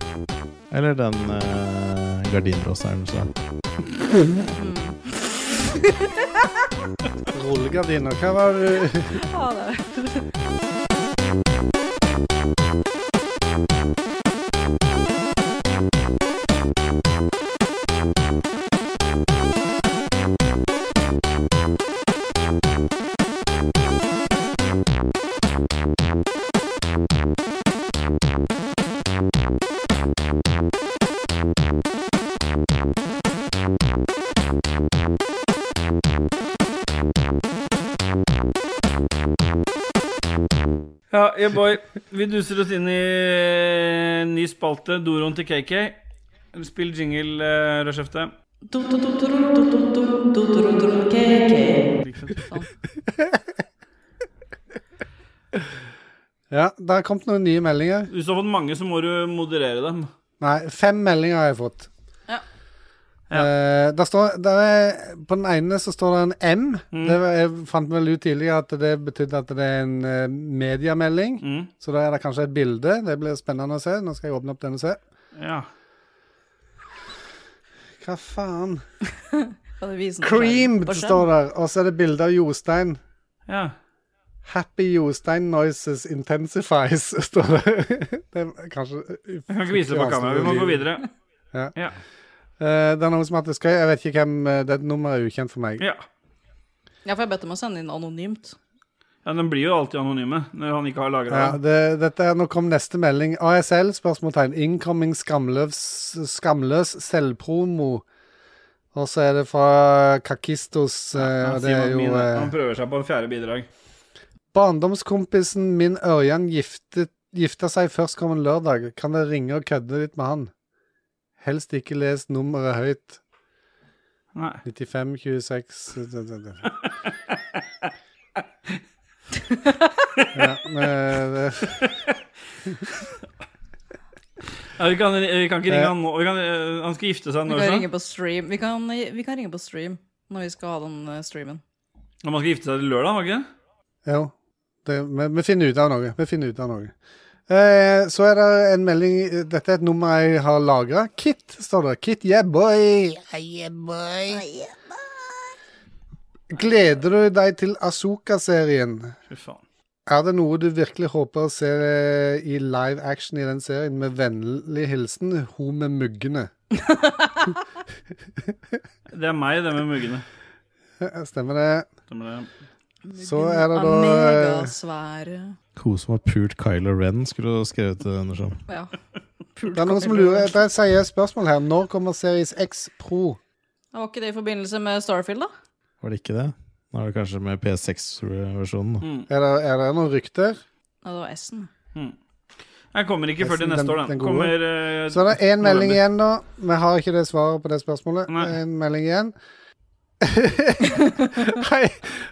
S1: Eller den uh, gardinrosseren. som er-
S3: Rullegardiner. Hva var eh, det
S4: Ja, det er det.
S2: Ja, yeah, boy. Vi duser oss inn i ny spalte, doroen til KK. Spill jingle, eh, rødskjefte.
S4: Du, du, du, du, du, du, du, du, du, du, du, KK.
S3: Ja, det har kommet noen nye meldinger.
S2: Hvis du har fått mange, så må du moderere dem.
S3: Nei, fem meldinger har jeg fått.
S4: Ja.
S2: Ja.
S3: Eh, der står, der er, på den ene så står det en M.
S2: Mm.
S3: Det var, jeg fant vel ut tidligere at det betydde at det er en eh, mediemelding.
S2: Mm.
S3: Så da er det kanskje et bilde. Det blir spennende å se. Nå skal jeg åpne opp den og se.
S2: Ja.
S3: Hva faen?
S4: Kan du vise den på
S3: Cream
S4: skjermen? På skjermen?
S3: står der, og så er det bilde av Jostein.
S2: ja.
S3: Happy Jostein Noises Intensifies, står det. det er kanskje
S2: Jeg kan ikke vise det på kamera. Vi må gå videre.
S3: Eh, det er noen som har hatt det skøy. Jeg vet ikke hvem eh, Det nummeret er ukjent for meg.
S2: Ja.
S4: Ja, for jeg bedt dem å sende inn anonymt.
S2: ja, den blir jo alltid anonyme når han ikke har lagra
S3: Ja,
S2: den.
S3: det, dette er, nå kom neste melding. ASL, spørsmålstegn. Incoming skamløs, skamløs selvpromo. Og så er det fra Kakistos. eh,
S2: Han
S3: og det
S2: sier
S3: er
S2: at
S3: jo
S2: mine-
S3: eh,
S2: Han prøver seg på en fjerde bidrag.
S3: Barndomskompisen min Ørjan giftet, gifta seg førstkommende lørdag. Kan dere ringe og kødde litt med han? Helst ikke les nummeret høyt.
S2: Nei.
S3: 95, 26 d- d- d- ja, men, eh,
S2: Ja, vi, kan, vi kan ikke ringe han nå. Vi kan, eh, han skal gifte seg
S4: Vi
S2: når
S4: kan
S2: sånn.
S4: ringe på stream. Vi kan, vi kan ringe på stream når vi skal ha den eh, streamen.
S2: Når man skal gifte seg til lørdag, var det ikke det?
S3: Jo. Det, vi, vi finner ut av noe. Vi finner ut av noe. Eh, så er det en melding Dette er et nummer jeg har lagra. Kit, står det. Kit yeah boy. Gleder du deg til Asoka-serien?
S2: Fy faen.
S3: Er det noe du virkelig håper å se eh, i live action i den serien? Med vennlig hilsen hun med muggene.
S2: Det er meg, det med muggene.
S3: Stemmer det?
S2: Stemmer det.
S3: Så er det da eh,
S4: Megasvære
S1: Hun som har pult Kylo Ren, skulle du skrevet det, sånn. Andersson.
S4: Ja.
S3: Det er noen som lurer. Det er et seriøst spørsmål her. Når kommer Series X Pro?
S4: Var ikke det i forbindelse med Starfield, da?
S1: Var det ikke det? Nå er det kanskje med PS6-versjonen. da.
S3: Er det, er det noen rykter?
S4: Ja, det var S-en.
S2: Jeg kommer ikke før til neste
S3: Nesten den-
S2: år, den.
S3: den gode.
S2: Kommer eh,
S3: Så det er én
S2: november.
S3: melding igjen nå. Vi har ikke det svaret på det spørsmålet.
S2: Nei.
S3: En melding igjen. hei,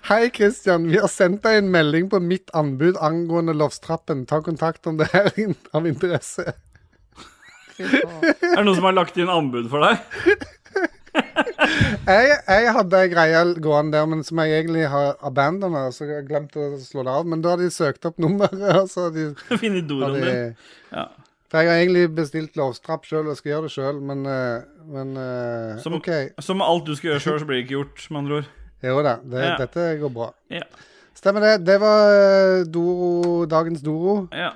S3: hei Christian. Vi har sendt deg en melding på mitt anbud angående Lofstrappen. Ta kontakt om det er in- av interesse.
S4: Fy faen.
S2: Er det noen som har lagt inn anbud for deg?
S3: Jeg, jeg hadde ei greie gående der, men som jeg egentlig har abandona. Så jeg har glemt å slå det av. Men da har de søkt opp nummeret. og så har de,
S2: Finne
S3: har
S2: doroen
S3: de,
S2: din. Ja.
S3: for jeg har egentlig bestilt Lofstrapp sjøl og skal gjøre det sjøl, men, eh, men eh,
S2: Som-
S3: OK.
S2: Så med alt du skal gjøre sjøl, så blir det ikke gjort, med andre ord.
S3: Jo da, det,
S2: Ja.
S3: dette går bra.
S2: Ja.
S3: Stemmer det. Det var eh, Doro, dagens Doro.
S2: ja.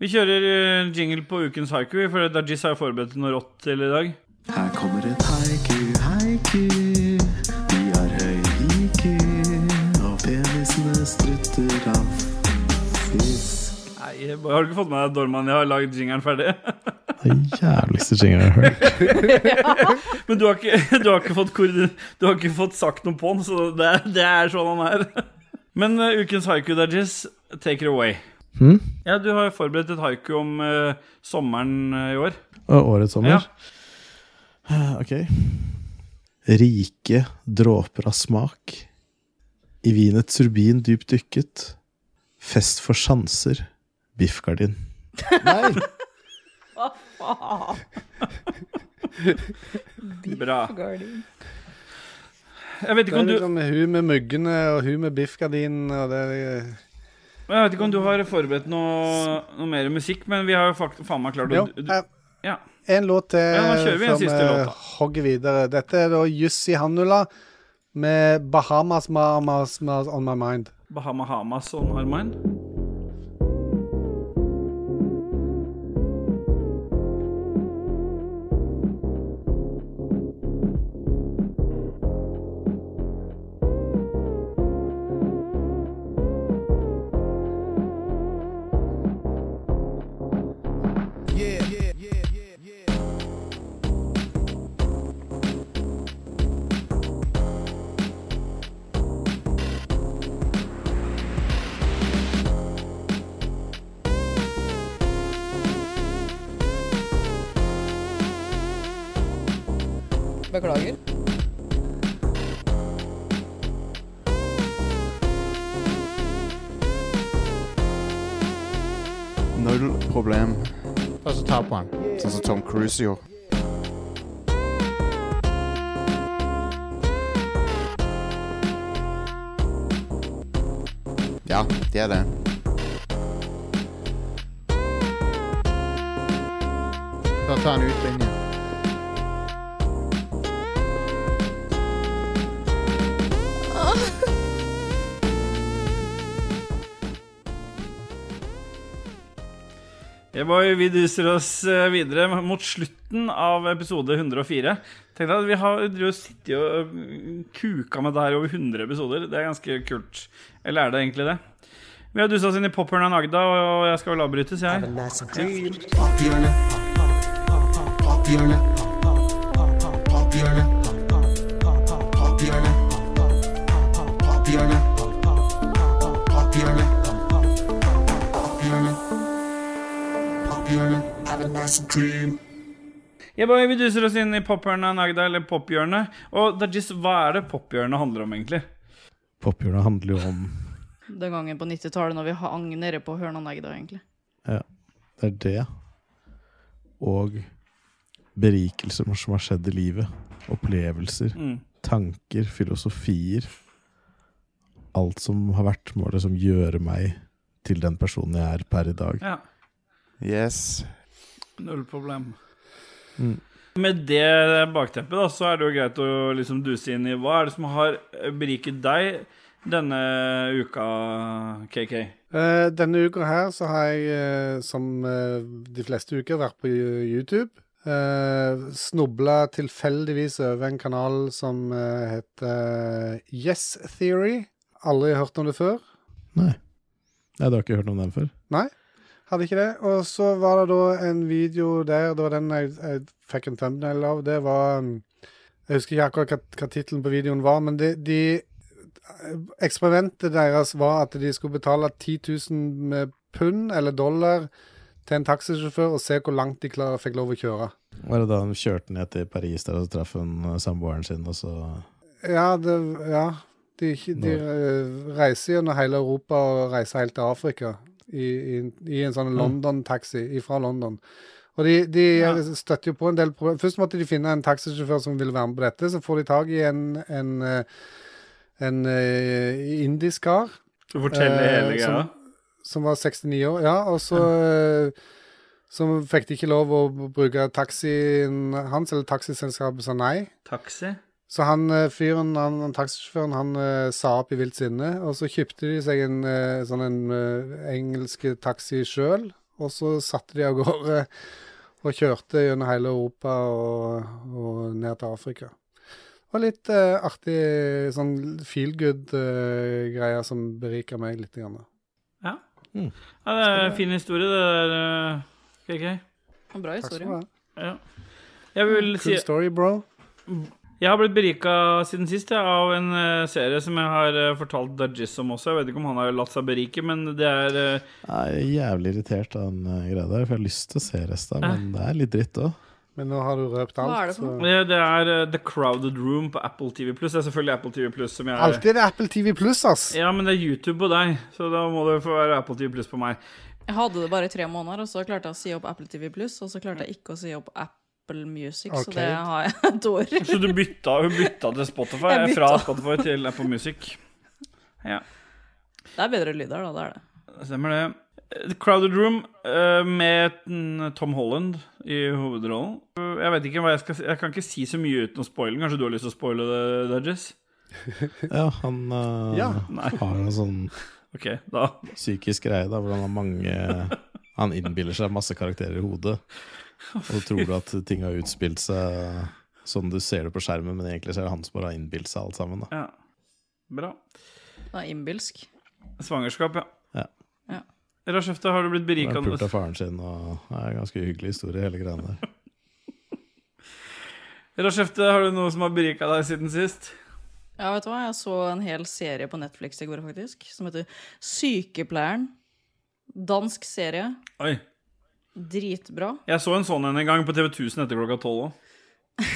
S2: Vi kjører eh, jingle på ukens haiku, for Dajis har jo forberedt noe rått til i dag.
S6: Her kommer et haiku, haiku. Vi har høy IQ, og penisene strutter av fisk.
S2: Nei, jeg bare- Har du ikke fått med deg Dorman? Jeg har lagd jingelen ferdig.
S1: Det er jævligste jingelen jeg har hørt.
S2: Men du har ikke, du har ikke, fått, koordin- du har ikke fått sagt noe på den, så det, er- det er sånn han er. Men eh, ukens haiku, Dajis, take it away.
S1: Hm?
S2: Ja, du har jo forberedt et haiku om eh, sommeren eh, i år.
S1: Og årets sommer? Eh,
S2: Ja.
S1: Ok. Rike dråper av smak. I vinets rubin dypt dykket. Fest for sjanser. Biffgardin.
S6: Nei!
S4: Hva faen?
S2: Bra.
S4: Guardian.
S2: Jeg vet
S3: Det
S2: ikke om
S3: er
S2: du,
S3: liksom hun med muggene og hun med biffgardinen og det er-
S2: jeg vet ikke om du har forberedt noe, noe mer musikk, men vi har jo fakt- faen meg klart å
S3: Jo,
S2: du- du-
S3: eh,
S2: ja.
S3: en låt til
S2: Ja, nå kjører vi en
S3: før
S2: siste låt, da.
S3: hogger videre. Dette er da Jussi Hannula med 'Bahamas Mamas Mas On My Mind'.
S2: Bahama Hamas og Armand.
S4: Beklager.
S7: Null problem.
S6: Og så ta på han.
S7: Sånn som Tom Cruise gjorde. Ja, de er det.
S6: Da tar han ut linjen.
S2: Yeah, boy, vi duser oss eh, videre mot slutten av episode 104. Tenk deg at Vi har vi har sittet og eh, kuka med det her over 100 episoder. Det er ganske kult. Eller er det egentlig det? Vi har dusa oss inn i Pophørn av Agda, og jeg skal vel avbrytes, jeg. Yeah, boy, vi duser oss inn i Pophørn av Agda, eller Pophjørnet. Og Dajis, hva er det Pophjørnet handler om, egentlig?
S1: Pophjørnet handler jo om
S4: Den gangen på 90-tallet når vi hang nede på Hørnanegg da, egentlig.
S1: Ja, det er det. Og berikelser som har skjedd i livet. Opplevelser,
S2: Mm.
S1: tanker, filosofier. Alt som har vært med å liksom gjøre meg til den personen jeg er per i dag.
S2: Ja.
S7: Yes.
S2: Null problem.
S1: Mm.
S2: Med det bakteppet da, så er det jo greit å liksom duse inn i hva er det som har beriket deg denne uka, KK?
S3: Eh, denne uka her så har jeg, eh, som eh, de fleste uker, vært på YouTube. Uh, Snubla tilfeldigvis over en kanal som eh, heter Yes Theory. Aldri hørt om det før.
S1: Nei. Nei, du har ikke hørt om den før?
S3: Hadde ikke det. Og så var det da en video der, det var den jeg, jeg fikk en thumbnail av, det var um, Jeg husker ikke akkurat hva, hva tittelen på videoen var, men de, de Eksperimentet deres var at de skulle betale 10 000 med pund eller dollar til en taxisjåfør og se hvor langt de klar, fikk lov å kjøre.
S1: Var det da han kjørte ned til Paris der og så traff han eh, samboeren sin, og så
S3: Ja, det, ja de, de eh, reiser gjennom hele Europa og reiser helt til Afrika i, i, i en sånn London-taxi fra London. Og de, de
S2: Ja.
S3: støtter jo på en del problem. Først måtte de finne en taxisjåfør som ville være med på dette. Så får de tak i en, en, eh, en eh, indisk kar
S2: Du forteller
S3: Eh,
S2: hele greia?
S3: som- som var 69 år, ja, og så eh, så fikk de ikke lov å bruke taxien hans, eller taxiselskapet sa nei.
S2: Taxi?
S3: Så han eh, fyren, han, han taxisjåføren, han eh, sa opp i vilt sinne, og så kjøpte de seg en eh, sånn en eh, engelsk taxi sjøl, og så satte de av gårde og kjørte gjennom hele Europa og, og ned til Afrika. Og litt eh, artig sånn feel good-greier som beriker meg litt. Grann.
S2: Ja.
S1: Mm.
S2: ja det er en fin historie, det der, eh, KK.
S4: En bra
S3: Takk
S4: historie.
S3: skal du ha.
S2: Ja. Jeg vil si
S3: Cool Mm, story, bro.
S2: Jeg har blitt berika siden sist jeg, av en eh, serie som jeg har eh, fortalt Dajis om også. Jeg vet ikke om han har latt seg berike, men det er eh,
S1: Nei, Jeg er jævlig irritert av den eh, greia der, for jeg har lyst til å se resten, men det er litt dritt òg.
S3: Men nå har du røpt alt.
S4: Hva er det for
S3: så-
S2: Det er eh, The Crowded Room på Apple TV Pluss. Det er selvfølgelig Apple TV Pluss som jeg
S3: Alltid er det Apple TV pluss, ass.
S2: Ja, men det er YouTube på deg, så da må det få være Apple TV Pluss på meg.
S4: Jeg hadde det bare i tre måneder, og så klarte jeg å si opp Apple TV og så klarte jeg ikke å si opp Apple Music, så det
S3: Arcade.
S4: har jeg et år.
S2: Så du bytta, hun bytta til Spotify?
S4: Jeg bytta.
S2: Fra Spotify til Apple Music.
S4: Det er bedre lyd her, da. Det er det.
S2: Stemmer det. The Crowded Room eh, med mm, Tom Holland i hovedrollen. Jeg vet ikke hva jeg skal si. Jeg kan ikke si så mye uten å spoile. den. Kanskje du har lyst til å spoile det, Dudges?
S1: Ja, han eh,
S3: Ja,
S2: nei.
S1: har en sånn
S2: OK, da.
S1: psykisk greie da, hvor han har mange Han innbiller seg masse karakterer i hodet. Og så tror du at ting har utspilt seg sånn du ser det på skjermen, men egentlig så er det han som bare har innbilt seg alt sammen. Da.
S2: Ja. Bra.
S4: Det er innbilsk.
S2: Svangerskap, ja.
S1: Ja.
S4: Ja.
S2: Rashefte, har du blitt
S1: Han
S2: berika
S1: er pult altså. av faren sin, og det er en ganske hyggelig historie, hele greia der.
S2: Rashefte, har du noe som har berika deg siden sist?
S4: Ja, vet du hva? Jeg så en hel serie på Netflix i går, faktisk, som heter Sykepleieren. Dansk serie.
S2: Oi.
S4: Dritbra.
S2: Jeg så en sånn en en gang på TV 1000 etter klokka tolv òg.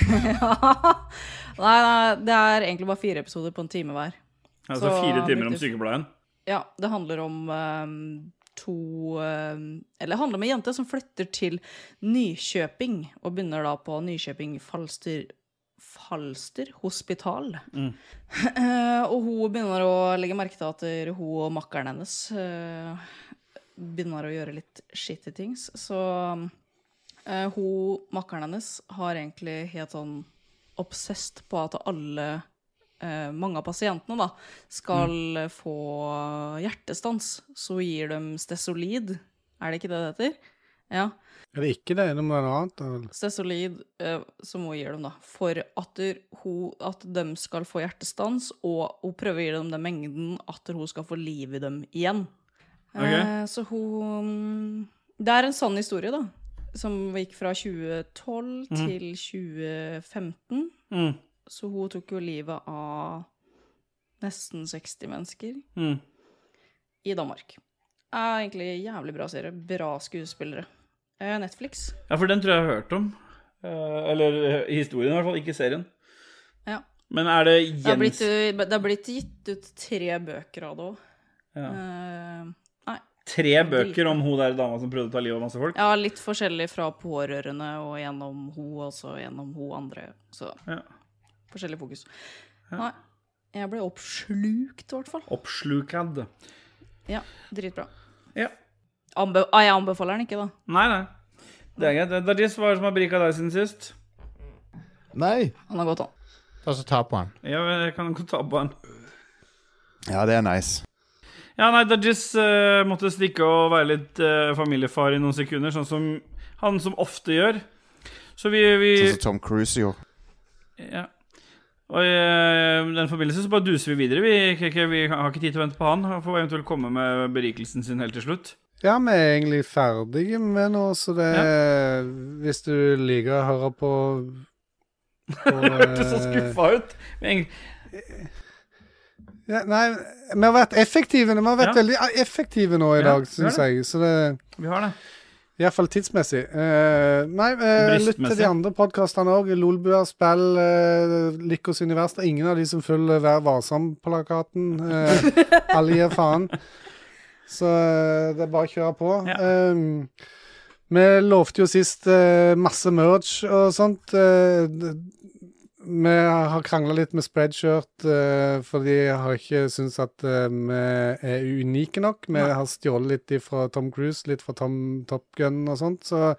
S4: Nei, nei, det er egentlig bare fire episoder på en time hver.
S2: Altså
S4: Så
S2: fire timer om
S4: faktisk-
S2: sykepleien.
S4: Ja, det handler om ehm, to ehm, Eller det handler om ei jente som flytter til Nykjøping, og begynner da på Nykjøping Falster Falster hospital. Eh, og hun begynner å legge merke til at hun og makkeren hennes eh, begynner å gjøre litt shitty things. Så eh, hun, makkeren hennes, har egentlig helt sånn obsesst på at alle eh, mange av pasientene da, skal eh, få hjertestans, så gir dem stesolid. Er det ikke det det heter? Ja.
S3: Er det ikke det? Det må være noe annet. da vel?
S4: Stesolid, eh, som hun gir dem, da. For at, der hun, at de skal få hjertestans, og hun prøver å gi dem den mengden at hun skal få liv i dem igjen.
S2: Ok.
S4: Eh, så hun Det er en sann historie, da. Som gikk fra 2012 til 2015.
S2: Mm.
S4: Så hun tok jo livet av nesten 60 mennesker
S2: Mm.
S4: i Danmark. Er egentlig en jævlig bra serie. Bra skuespillere. Eh, Netflix.
S2: Ja, for den tror jeg jeg har hørt om. Eh, eller eh, historien, i hvert fall. Ikke serien.
S4: Ja.
S2: Men er det
S4: Det har blitt, eh,
S2: Jens
S4: det har blitt gitt ut tre bøker av det òg.
S2: ja.
S4: nei.
S2: Tre bøker om hun der dama som prøvde å ta livet av masse folk?
S4: Ja, litt forskjellig fra pårørende og gjennom ho, og så gjennom ho andre. Så
S2: Ja.
S4: forskjellig fokus. Nei. Jeg ble oppslukt, i hvert fall.
S2: Oppslukad.
S4: Ja, dritbra.
S2: Ja.
S4: Anbe ah, jeg anbefaler den ikke, da.
S2: Nei, nei. Det er greit. Darjis, hva er det som har berika deg siden sist?
S6: Nei!
S4: Han har gått an.
S6: Ta så ta på han.
S2: Ja, jeg kan godt ta på den.
S7: Ja, det er nice.
S2: Ja, nei, Dudges måtte stikke og være litt eh, familiefar i noen sekunder, sånn som han som ofte gjør. Så vi, vi
S7: Sånn som Tom Cruise gjorde.
S2: ja. Og i eh, den forbindelse så bare duser vi videre. Vi, KK, vi har ikke tid til å vente på han. Han får eventuelt komme med berikelsen sin helt til slutt.
S3: Ja, vi er egentlig ferdige med nå, så det Hvis du liker å høre på, på
S2: Du så
S3: eh,
S2: skuffa ut. Men,
S3: Ja, nei, vi har vært effektive. Vi har vært
S2: Ja.
S3: veldig effektive nå i
S2: Ja,
S3: dag, syns
S2: vi har
S3: jeg. Så det
S2: vi har det.
S3: Iallfall tidsmessig. Eh, nei, eh, lytt til
S2: Bristmessig.
S3: de andre podkastene òg. Lolbua, Spill, uh, Lykkos univers. Det er ingen av de som følger Vær varsom-plakaten. eh, alle gir faen. Så eh, det er bare å kjøre på.
S2: Ja.
S3: Eh, vi lovte jo sist eh, masse merch og sånt. eh, d- vi har krangla litt med Spreadshirt, eh, for de har ikke syntes at eh, vi er unike nok. Vi har stjålet litt fra Tom Cruise, litt fra Tom Top Gun og sånt. Så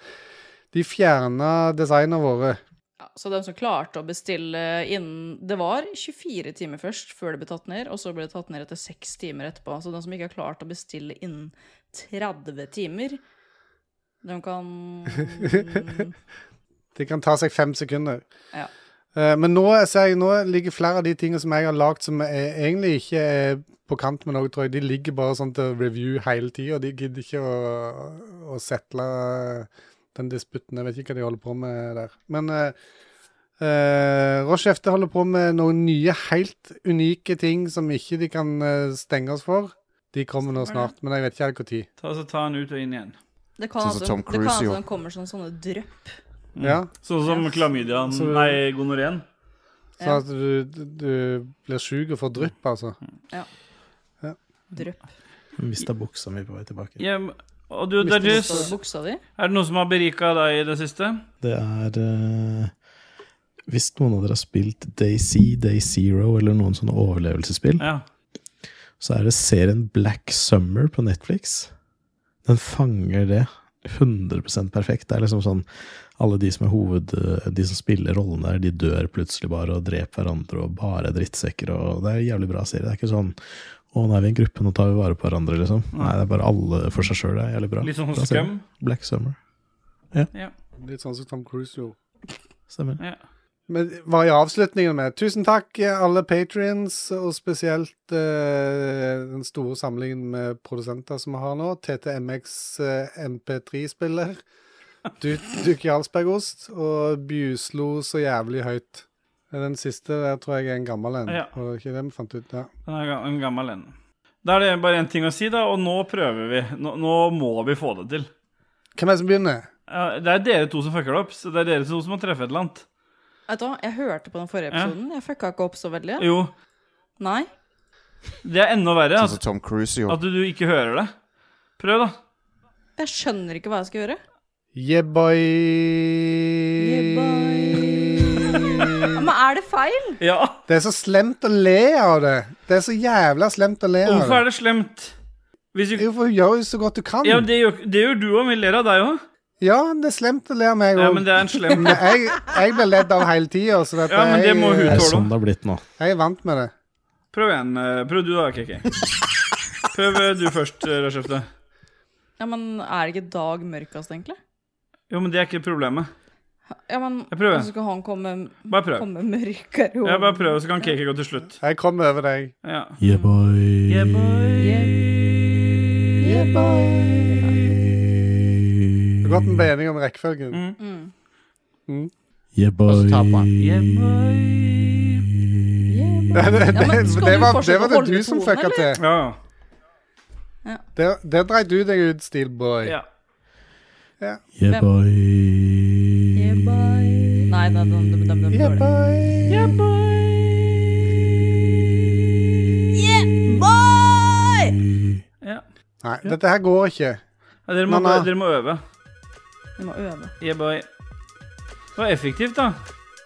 S3: de fjerna designene våre.
S4: Ja, så de som klarte å bestille innen Det var 24 timer først før det ble tatt ned, og så ble det tatt ned etter 6 timer etterpå. Så de som ikke har klart å bestille innen 30 timer, de kan
S3: De kan ta seg fem sekunder.
S4: Ja.
S3: Eh, Men nå, ser jeg, nå ligger flere av de tingene som jeg har lagd som er, egentlig ikke er på kant med noe, tror jeg. De ligger bare sånn til review hele tida. De gidder ikke å, å settle den disputten. Jeg vet ikke hva de holder på med der. Men eh, eh, Roche FD holder på med noen nye, helt unike ting som ikke de kan eh, stenge oss for. De kommer nå
S4: Stemmer det.
S3: snart, men jeg vet ikke helt når.
S2: Ta, så ta han ut og inn igjen.
S4: Det kan
S7: Sånn som
S4: altså,
S7: Tom
S4: det kan
S7: Cruise
S4: altså
S7: gjorde.
S4: de kommer som sånne drypp.
S3: Ja,
S2: Sånn som klamydiaen
S3: Så-
S2: Nei, gonoreen.
S3: så at du, du blir syk og får drypp, altså.
S4: Drypp.
S1: Hvis det er buksa mi på vei tilbake.
S2: Ja, men- og du,
S3: Mister
S2: Dajis,
S4: Står det buksa di?
S2: er det noe som har berika deg i det siste?
S1: Det er eh, Hvis noen av dere har spilt DayZ, Day Zero eller noen sånne overlevelsesspill,
S2: Ja.
S1: så er det serien Black Summer på Netflix. Den fanger det 100 perfekt. Det er liksom sånn alle de som er hoved... De som spiller rollen der, de dør plutselig bare og dreper hverandre og bare er drittsekker. Og det er en jævlig bra serie. Det er ikke sånn å, nå er vi i en gruppe, nå tar vi vare på hverandre, liksom. Nei, det er bare alle for seg sjøl. Det er jævlig bra.
S2: Litt sånn
S1: Bra serie.
S2: Scum?
S1: Black Summer.
S3: Litt sånn som Tom Cruise gjorde.
S1: Stemmer.
S2: ja.
S3: Men var i avslutningen med Tusen takk, alle patrions, og spesielt eh, den store samlingen med produsenter som vi har nå. TTMX eh, MP3-spiller. Du- Duke Jarlsbergost og Bjuslo så jævlig høyt. Den siste der tror jeg er en gammel en.
S2: Ja.
S3: Var det ikke det vi fant ut? Ja.
S2: Den er ga- en gammel en. Da er det bare én ting å si, da, og nå prøver vi. Nå, nå må vi få det til.
S3: Hvem er det som begynner?
S2: Ja, det er dere to som fucker det opp, så det er dere to som må treffe et eller annet.
S4: Vet du hva, jeg hørte på den forrige
S2: Ja.
S4: episoden. Jeg fucka ikke opp så veldig.
S2: Jo,
S4: Nei.
S2: det er enda verre
S7: Sånn
S2: at,
S7: som Tom Cruise gjorde.
S2: at du ikke hører det. Prøv, da.
S4: Jeg skjønner ikke hva jeg skal gjøre.
S3: Yeah, boy.
S7: Eh.
S4: Men er det feil?
S2: Ja.
S3: Det er så slemt å le av det. Det er så jævla slemt å le av
S2: Hvorfor
S3: det.
S2: er det slemt? Hvis du,
S3: Jo, for du gjør jo så godt du kan.
S2: ja, det, gjør, det gjør du òg. Vi ler av deg òg.
S3: Ja, det er slemt å le av meg
S2: Ja,
S3: òg.
S2: men det er en slem
S3: Men jeg, jeg blir ledd av hele tida, så dette,
S2: Ja, men det må hun
S1: Det
S3: jeg,
S1: er
S2: tåler.
S1: sånn det har blitt nå.
S3: jeg er vant med det.
S2: Prøv igjen. eh, Prøv du, da, KK. Prøv eh, du først, eh, Rødskjefte.
S4: Ja, men er det ikke Dag mørkest, egentlig?
S2: Jo, men det er ikke problemet.
S4: Ja, men
S2: Jeg prøver.
S4: Så skal han komme,
S2: Bare prøv.
S4: komme mørkere
S2: Ja, bare prøv, så kan KK gå til slutt.
S3: Jeg kommer over deg.
S2: Ja.
S1: Yeah, boy.
S2: Yeah, boy.
S4: Yeah, boy.
S3: Det er godt vi ble enige om rekkefølgen.
S2: Mm.
S4: Mm.
S1: Yeah, boy.
S6: Og så taper han.
S2: Yeah, boy.
S4: Yeah, boy.
S3: Det, det,
S4: Ja, men skal
S3: det
S4: du
S3: var, det
S4: fortsette
S3: var
S4: å
S3: det
S4: holde
S3: du som
S4: tonen,
S3: fucka til.
S2: Ja.
S3: Der, der dreit du deg ut, Steelboy.
S2: ja.
S1: Yeah,
S4: Hvem?
S1: boy.
S4: Yeah, boy. Nei, nei, den, den, den, den
S3: Yeah,
S4: dårlig.
S3: boy.
S2: ja.
S3: Nei, dette her går ikke.
S2: Ja, Dere må,
S3: Mamma.
S2: dere må øve.
S4: Vi må øve.
S2: Yeah, boy. Det var effektivt, da.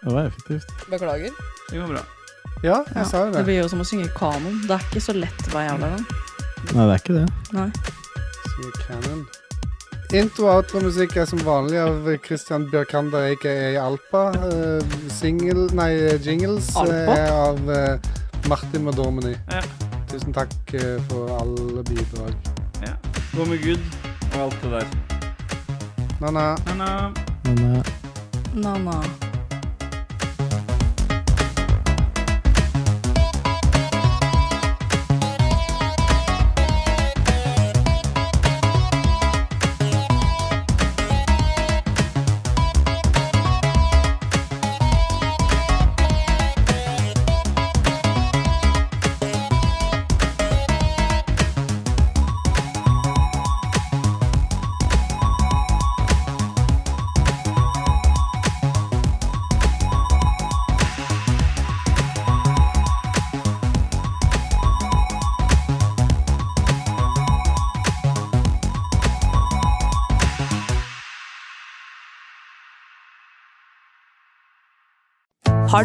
S1: Det var effektivt.
S4: Beklager.
S2: Det går bra.
S3: Ja, jeg sa jo
S4: Det
S3: det.
S4: blir jo som å synge kanon. Det er ikke så lett hver jævla gang.
S1: Nei, det er ikke det.
S4: Nei.
S3: Sier Canon. Intro- og outromusikk er som vanlig av Christian Bjørkander, aka Alpa. Eh, Single, nei, jingles eh,
S4: Alpa?
S3: er av eh, Martin Madormeny.
S2: Ja.
S3: Tusen takk eh, for alle bidrag.
S2: Ja. Gå med Gud og alt det der.
S3: Na-na.
S2: Na-na.
S1: Men eh,
S4: Na-na.
S10: Har